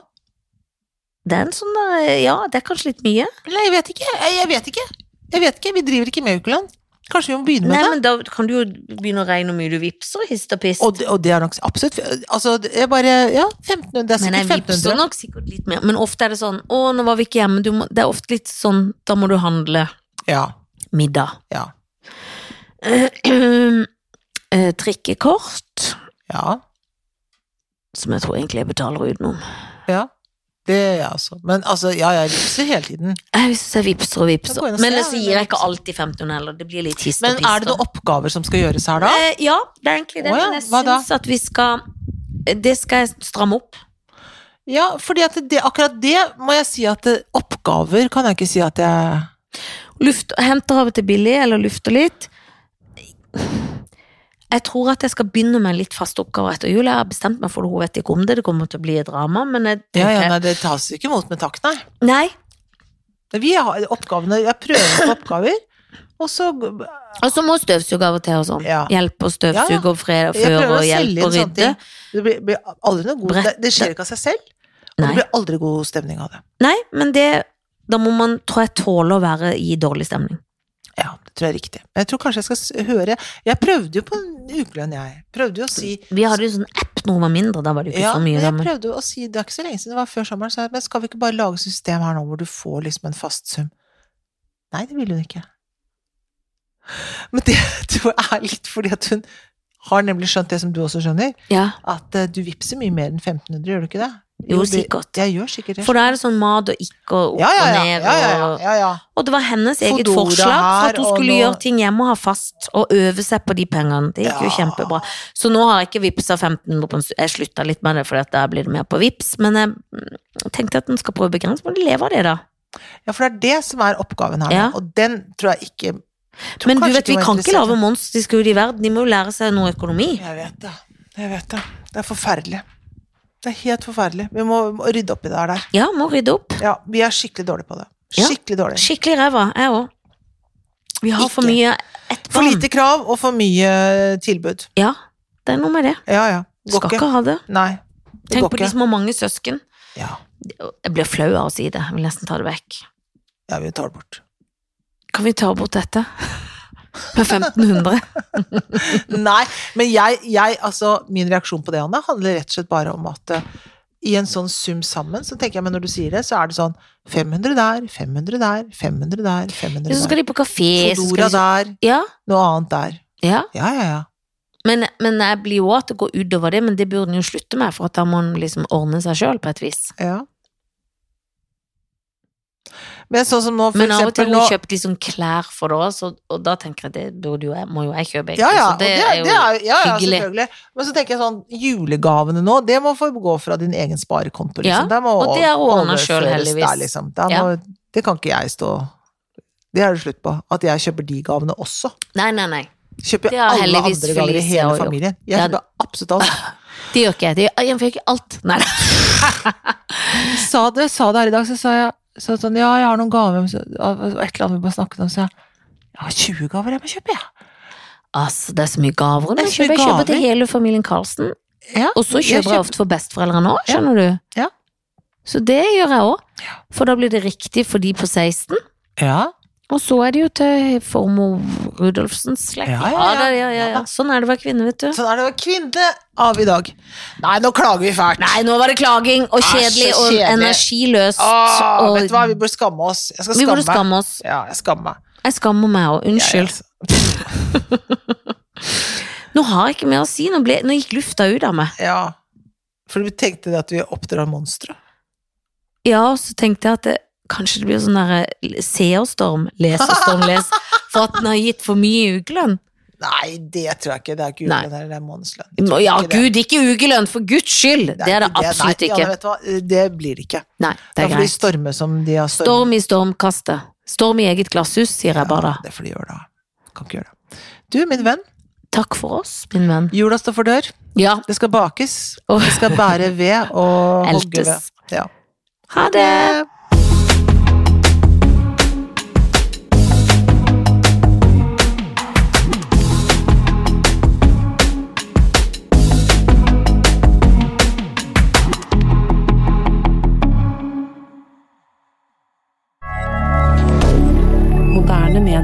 [SPEAKER 2] Det er en sånn der, ja, det er kanskje litt mye.
[SPEAKER 1] Nei, jeg vet ikke. Jeg jeg vet ikke. Jeg vet ikke. Vi driver ikke med ukelønn. Kanskje vi må begynne med
[SPEAKER 2] Nei,
[SPEAKER 1] det?
[SPEAKER 2] men da kan du jo begynne å regne hvor mye du vipser og hist og pist.
[SPEAKER 1] Og, det- og det er nok absolutt Altså, det er bare Ja, 1500. Det er
[SPEAKER 2] men jeg
[SPEAKER 1] sikkert
[SPEAKER 2] vipser
[SPEAKER 1] 1500.
[SPEAKER 2] nok sikkert litt mer. Men ofte er det sånn, å, nå var vi ikke hjemme. Du må, det er ofte litt sånn, da må du handle
[SPEAKER 1] Ja.
[SPEAKER 2] middag.
[SPEAKER 1] Ja.
[SPEAKER 2] Eh, Trikkekort,
[SPEAKER 1] Ja.
[SPEAKER 2] som jeg tror egentlig jeg betaler utenom.
[SPEAKER 1] ja. Det gjør jeg også. Men altså, ja, jeg vipser hele tiden.
[SPEAKER 2] Jeg syns jeg vipser og
[SPEAKER 1] Da
[SPEAKER 2] vipser.
[SPEAKER 1] går jeg inn og
[SPEAKER 2] Men
[SPEAKER 1] ser,
[SPEAKER 2] så
[SPEAKER 1] ja,
[SPEAKER 2] gir jeg
[SPEAKER 1] vipser.
[SPEAKER 2] ikke alltid 1500 heller. Det blir litt hist og
[SPEAKER 1] Men er det noen oppgaver som skal gjøres her, da?
[SPEAKER 2] Eh, ja, det er egentlig det.
[SPEAKER 1] Å ja,
[SPEAKER 2] Men jeg
[SPEAKER 1] hva da?
[SPEAKER 2] syns at vi skal eh, Det skal jeg stramme opp.
[SPEAKER 1] Ja, fordi at det, akkurat det må jeg si at eh, oppgaver kan jeg ikke si at jeg
[SPEAKER 2] Luft, henter av og til billig, eller lufter litt. Jeg tror at jeg skal begynne med en litt fast oppgave etter jul. Jeg har bestemt meg for det, hun vet ikke om det. Det kommer til å bli drama, men jeg
[SPEAKER 1] Ja, ja,
[SPEAKER 2] tenker-
[SPEAKER 1] nei, det tas ikke imot med takk, nei.
[SPEAKER 2] Nei.
[SPEAKER 1] Vi har oppgavene, jeg prøver på oppgaver, og så
[SPEAKER 2] Og så må støvsuge av og til og sånn.
[SPEAKER 1] Ja.
[SPEAKER 2] Hjelpe å
[SPEAKER 1] Ja,
[SPEAKER 2] støvsuge
[SPEAKER 1] ja.
[SPEAKER 2] og fred og
[SPEAKER 1] Jeg prøver
[SPEAKER 2] før
[SPEAKER 1] å
[SPEAKER 2] og
[SPEAKER 1] selge
[SPEAKER 2] hjelpe å
[SPEAKER 1] inn sånne
[SPEAKER 2] rydde.
[SPEAKER 1] ting. Det blir, blir aldri noe god, det,
[SPEAKER 2] Brett-
[SPEAKER 1] det skjer ikke av seg selv, og det
[SPEAKER 2] Nei.
[SPEAKER 1] blir aldri god stemning av det.
[SPEAKER 2] Nei, men det Da må man, tror jeg, tåle å være i dårlig stemning.
[SPEAKER 1] Ja, det tror jeg er riktig. Men jeg tror kanskje jeg skal s- høre Jeg prøvde jo på en ukelønn, jeg. Prøvde jo å si
[SPEAKER 2] Vi hadde jo sånn app når hun var mindre, da var det jo ikke
[SPEAKER 1] Ja,
[SPEAKER 2] så
[SPEAKER 1] men
[SPEAKER 2] mye. Da,
[SPEAKER 1] jeg
[SPEAKER 2] men...
[SPEAKER 1] prøvde å si Det er ikke så lenge siden, det var før sommeren, så jeg, men skal vi ikke bare lage et system her nå hvor du får liksom en fast sum? Nei, det ville hun ikke. Men det tror jeg er litt fordi at hun har nemlig skjønt det som du også skjønner,
[SPEAKER 2] Ja,
[SPEAKER 1] at eh, du vippser mye mer enn 1500, gjør du ikke det?
[SPEAKER 2] jo,
[SPEAKER 1] det-
[SPEAKER 2] sikkert.
[SPEAKER 1] Jeg gjør sikkert det.
[SPEAKER 2] For da er det sånn mat og ikke og opp
[SPEAKER 1] Ja, ja,
[SPEAKER 2] og
[SPEAKER 1] ja.
[SPEAKER 2] ned.
[SPEAKER 1] ja, ja, ja,
[SPEAKER 2] Og...
[SPEAKER 1] ja, ja.
[SPEAKER 2] og det var hennes eget
[SPEAKER 1] Fodora
[SPEAKER 2] forslag for at
[SPEAKER 1] her,
[SPEAKER 2] hun
[SPEAKER 1] og
[SPEAKER 2] skulle
[SPEAKER 1] nå-
[SPEAKER 2] gjøre ting hjemme og ha fast, og øve seg på de pengene. Det gikk jo
[SPEAKER 1] Ja.
[SPEAKER 2] kjempebra. Så nå har jeg ikke vippsa 1500 på en stund. Jeg slutta litt med det, for der blir det mer på vips. Men jeg mm, tenkte at en skal prøve å begrense, men de lever av det, da.
[SPEAKER 1] Ja, for det er det som er oppgaven her,
[SPEAKER 2] Ja.
[SPEAKER 1] nå, og den tror jeg ikke tror
[SPEAKER 2] Men du
[SPEAKER 1] kanskje
[SPEAKER 2] vet,
[SPEAKER 1] ikke
[SPEAKER 2] vi
[SPEAKER 1] hun er
[SPEAKER 2] kan ikke
[SPEAKER 1] interessert.
[SPEAKER 2] lage monsterske ut i verden. De må jo lære seg noe økonomi.
[SPEAKER 1] Jeg vet det. Jeg vet det. Det er forferdelig. Det er helt forferdelig. Vi må, må rydde opp i det her der.
[SPEAKER 2] Ja, må rydde opp.
[SPEAKER 1] Ja, vi er skikkelig dårlige på det.
[SPEAKER 2] Ja.
[SPEAKER 1] Skikkelig dårlige.
[SPEAKER 2] Skikkelig ræva, jeg òg. Vi har for
[SPEAKER 1] Ikke.
[SPEAKER 2] mye ett
[SPEAKER 1] For
[SPEAKER 2] barn.
[SPEAKER 1] lite krav og for mye tilbud.
[SPEAKER 2] Ja, det er noe med det.
[SPEAKER 1] Ja, ja. Går
[SPEAKER 2] Skal ikke ha det.
[SPEAKER 1] Nei. Det
[SPEAKER 2] Tenk
[SPEAKER 1] går
[SPEAKER 2] på de
[SPEAKER 1] ikke.
[SPEAKER 2] som har mange søsken.
[SPEAKER 1] Ja.
[SPEAKER 2] Jeg blir flau av å si det. Jeg vil nesten ta det vekk.
[SPEAKER 1] ja, vi tar det bort.
[SPEAKER 2] Kan vi ta bort dette? Med 1500?
[SPEAKER 1] Nei, men jeg, jeg altså, min reaksjon på det, Anne, handler rett og slett bare om at eh, i en sånn sum sammen, så tenker jeg, men når du sier det, så er det sånn 500 der, 500 der, 500 der, 500
[SPEAKER 2] Så
[SPEAKER 1] der.
[SPEAKER 2] skal de på kafé så skal
[SPEAKER 1] Fodora
[SPEAKER 2] de...
[SPEAKER 1] der,
[SPEAKER 2] Ja,
[SPEAKER 1] noe annet der.
[SPEAKER 2] ja.
[SPEAKER 1] Ja, ja, ja.
[SPEAKER 2] Men, men jeg blir jo at det går utover det, men det burde en jo slutte med, for at da må en liksom ordne seg sjøl på et vis.
[SPEAKER 1] Ja. Men sånn som nå, for
[SPEAKER 2] Men av og til
[SPEAKER 1] eksempel
[SPEAKER 2] hun
[SPEAKER 1] nå
[SPEAKER 2] kjøpte liksom klær for det også, og- og da tenker jeg det burde jo jeg, må jo jeg kjøpe. Ikke?
[SPEAKER 1] ja, ja,
[SPEAKER 2] Så
[SPEAKER 1] og det, er, det er, ja, ja,
[SPEAKER 2] hyggelig.
[SPEAKER 1] selvfølgelig. Men så tenker jeg sånn, julegavene nå, det må få gå fra din egen sparekonto, liksom.
[SPEAKER 2] Ja,
[SPEAKER 1] det må
[SPEAKER 2] og det er ordnet
[SPEAKER 1] overføres
[SPEAKER 2] selv, heldigvis.
[SPEAKER 1] Der, liksom. Da må, Det kan ikke jeg stå Det er det slutt på. At jeg kjøper de gavene også.
[SPEAKER 2] Nei, nei, nei.
[SPEAKER 1] Kjøper
[SPEAKER 2] Det
[SPEAKER 1] jo
[SPEAKER 2] har
[SPEAKER 1] alle
[SPEAKER 2] heldigvis
[SPEAKER 1] andre gaver i
[SPEAKER 2] Felicia
[SPEAKER 1] hele
[SPEAKER 2] også gjort.
[SPEAKER 1] familien. Jeg
[SPEAKER 2] Ja,
[SPEAKER 1] kjøper absolutt alt.
[SPEAKER 2] Det gjør ikke jeg. Det gjør, jeg fikk ikke alt. Nei, nei.
[SPEAKER 1] sa det, sa det her i dag, så sa jeg så sånn, ja, jeg har noen gaver, så, av- av et eller annet vi bare snakket om, så jeg, jeg har 20 gaver jeg må kjøpe, jeg.
[SPEAKER 2] Altså, det er så mye gaver. nå.
[SPEAKER 1] Det er
[SPEAKER 2] Jeg
[SPEAKER 1] så mye
[SPEAKER 2] kjøper, jeg kjøper til
[SPEAKER 1] gaver.
[SPEAKER 2] hele familien Karlsen,
[SPEAKER 1] Ja,
[SPEAKER 2] og så
[SPEAKER 1] jeg
[SPEAKER 2] kjøper jeg ofte for besteforeldrene òg,
[SPEAKER 1] Ja.
[SPEAKER 2] skjønner du.
[SPEAKER 1] Ja.
[SPEAKER 2] Så det gjør jeg òg, for da blir det riktig for de på 16.
[SPEAKER 1] Ja,
[SPEAKER 2] Og så er det jo til Formoe Rudolfsens slekt.
[SPEAKER 1] Ja, ja, ja.
[SPEAKER 2] da, ja, ja,
[SPEAKER 1] Ja
[SPEAKER 2] ja.
[SPEAKER 1] da.
[SPEAKER 2] Sånn er det å være kvinne, vet du.
[SPEAKER 1] sånn er det å være kvinne av i dag. Nei, nå klager vi fælt.
[SPEAKER 2] Nei, nå var det klaging og
[SPEAKER 1] Æsj, så
[SPEAKER 2] kjedelig og
[SPEAKER 1] kjedelig.
[SPEAKER 2] energiløst.
[SPEAKER 1] Åh,
[SPEAKER 2] og
[SPEAKER 1] Ah, vet du hva, vi burde skamme oss. Jeg skal
[SPEAKER 2] Vi burde
[SPEAKER 1] skamme meg.
[SPEAKER 2] skamme oss.
[SPEAKER 1] Ja, jeg skammer meg.
[SPEAKER 2] Jeg skammer meg òg. Unnskyld.
[SPEAKER 1] Jeg,
[SPEAKER 2] Nå har jeg ikke mer å si. Nå, ble, nå gikk lufta ut av meg.
[SPEAKER 1] jeg, ja. For du tenkte det at vi oppdrar monstre.
[SPEAKER 2] Ja, og så tenkte jeg at det, kanskje det blir sånn derre seerstorm, leserstorm, les, for at den har gitt for mye ukelønn.
[SPEAKER 1] Nei, det tror jeg ikke. Det er ikke
[SPEAKER 2] Nei.
[SPEAKER 1] ukelønn eller det er månedslønn. Jeg tror
[SPEAKER 2] Ja,
[SPEAKER 1] ikke det.
[SPEAKER 2] gud, ikke ukelønn, for guds skyld! Det er det
[SPEAKER 1] ikke
[SPEAKER 2] absolutt
[SPEAKER 1] Nei, Janne,
[SPEAKER 2] ikke.
[SPEAKER 1] vet du hva, det blir det ikke.
[SPEAKER 2] Nei, det
[SPEAKER 1] Da
[SPEAKER 2] er
[SPEAKER 1] får de
[SPEAKER 2] greit.
[SPEAKER 1] storme som de har stormet.
[SPEAKER 2] Storm i stormkastet. Storm i eget glasshus, sier jeg bare
[SPEAKER 1] Ja,
[SPEAKER 2] da.
[SPEAKER 1] det får de gjøre, da. Kan ikke gjøre det. Du, min venn.
[SPEAKER 2] Takk for oss, min venn.
[SPEAKER 1] Jula står for dør.
[SPEAKER 2] Ja,
[SPEAKER 1] Det skal bakes.
[SPEAKER 2] Åh.
[SPEAKER 1] Det skal bære ved og hogge ved.
[SPEAKER 2] eltes.
[SPEAKER 1] Ja.
[SPEAKER 2] Ha det!
[SPEAKER 3] Moderne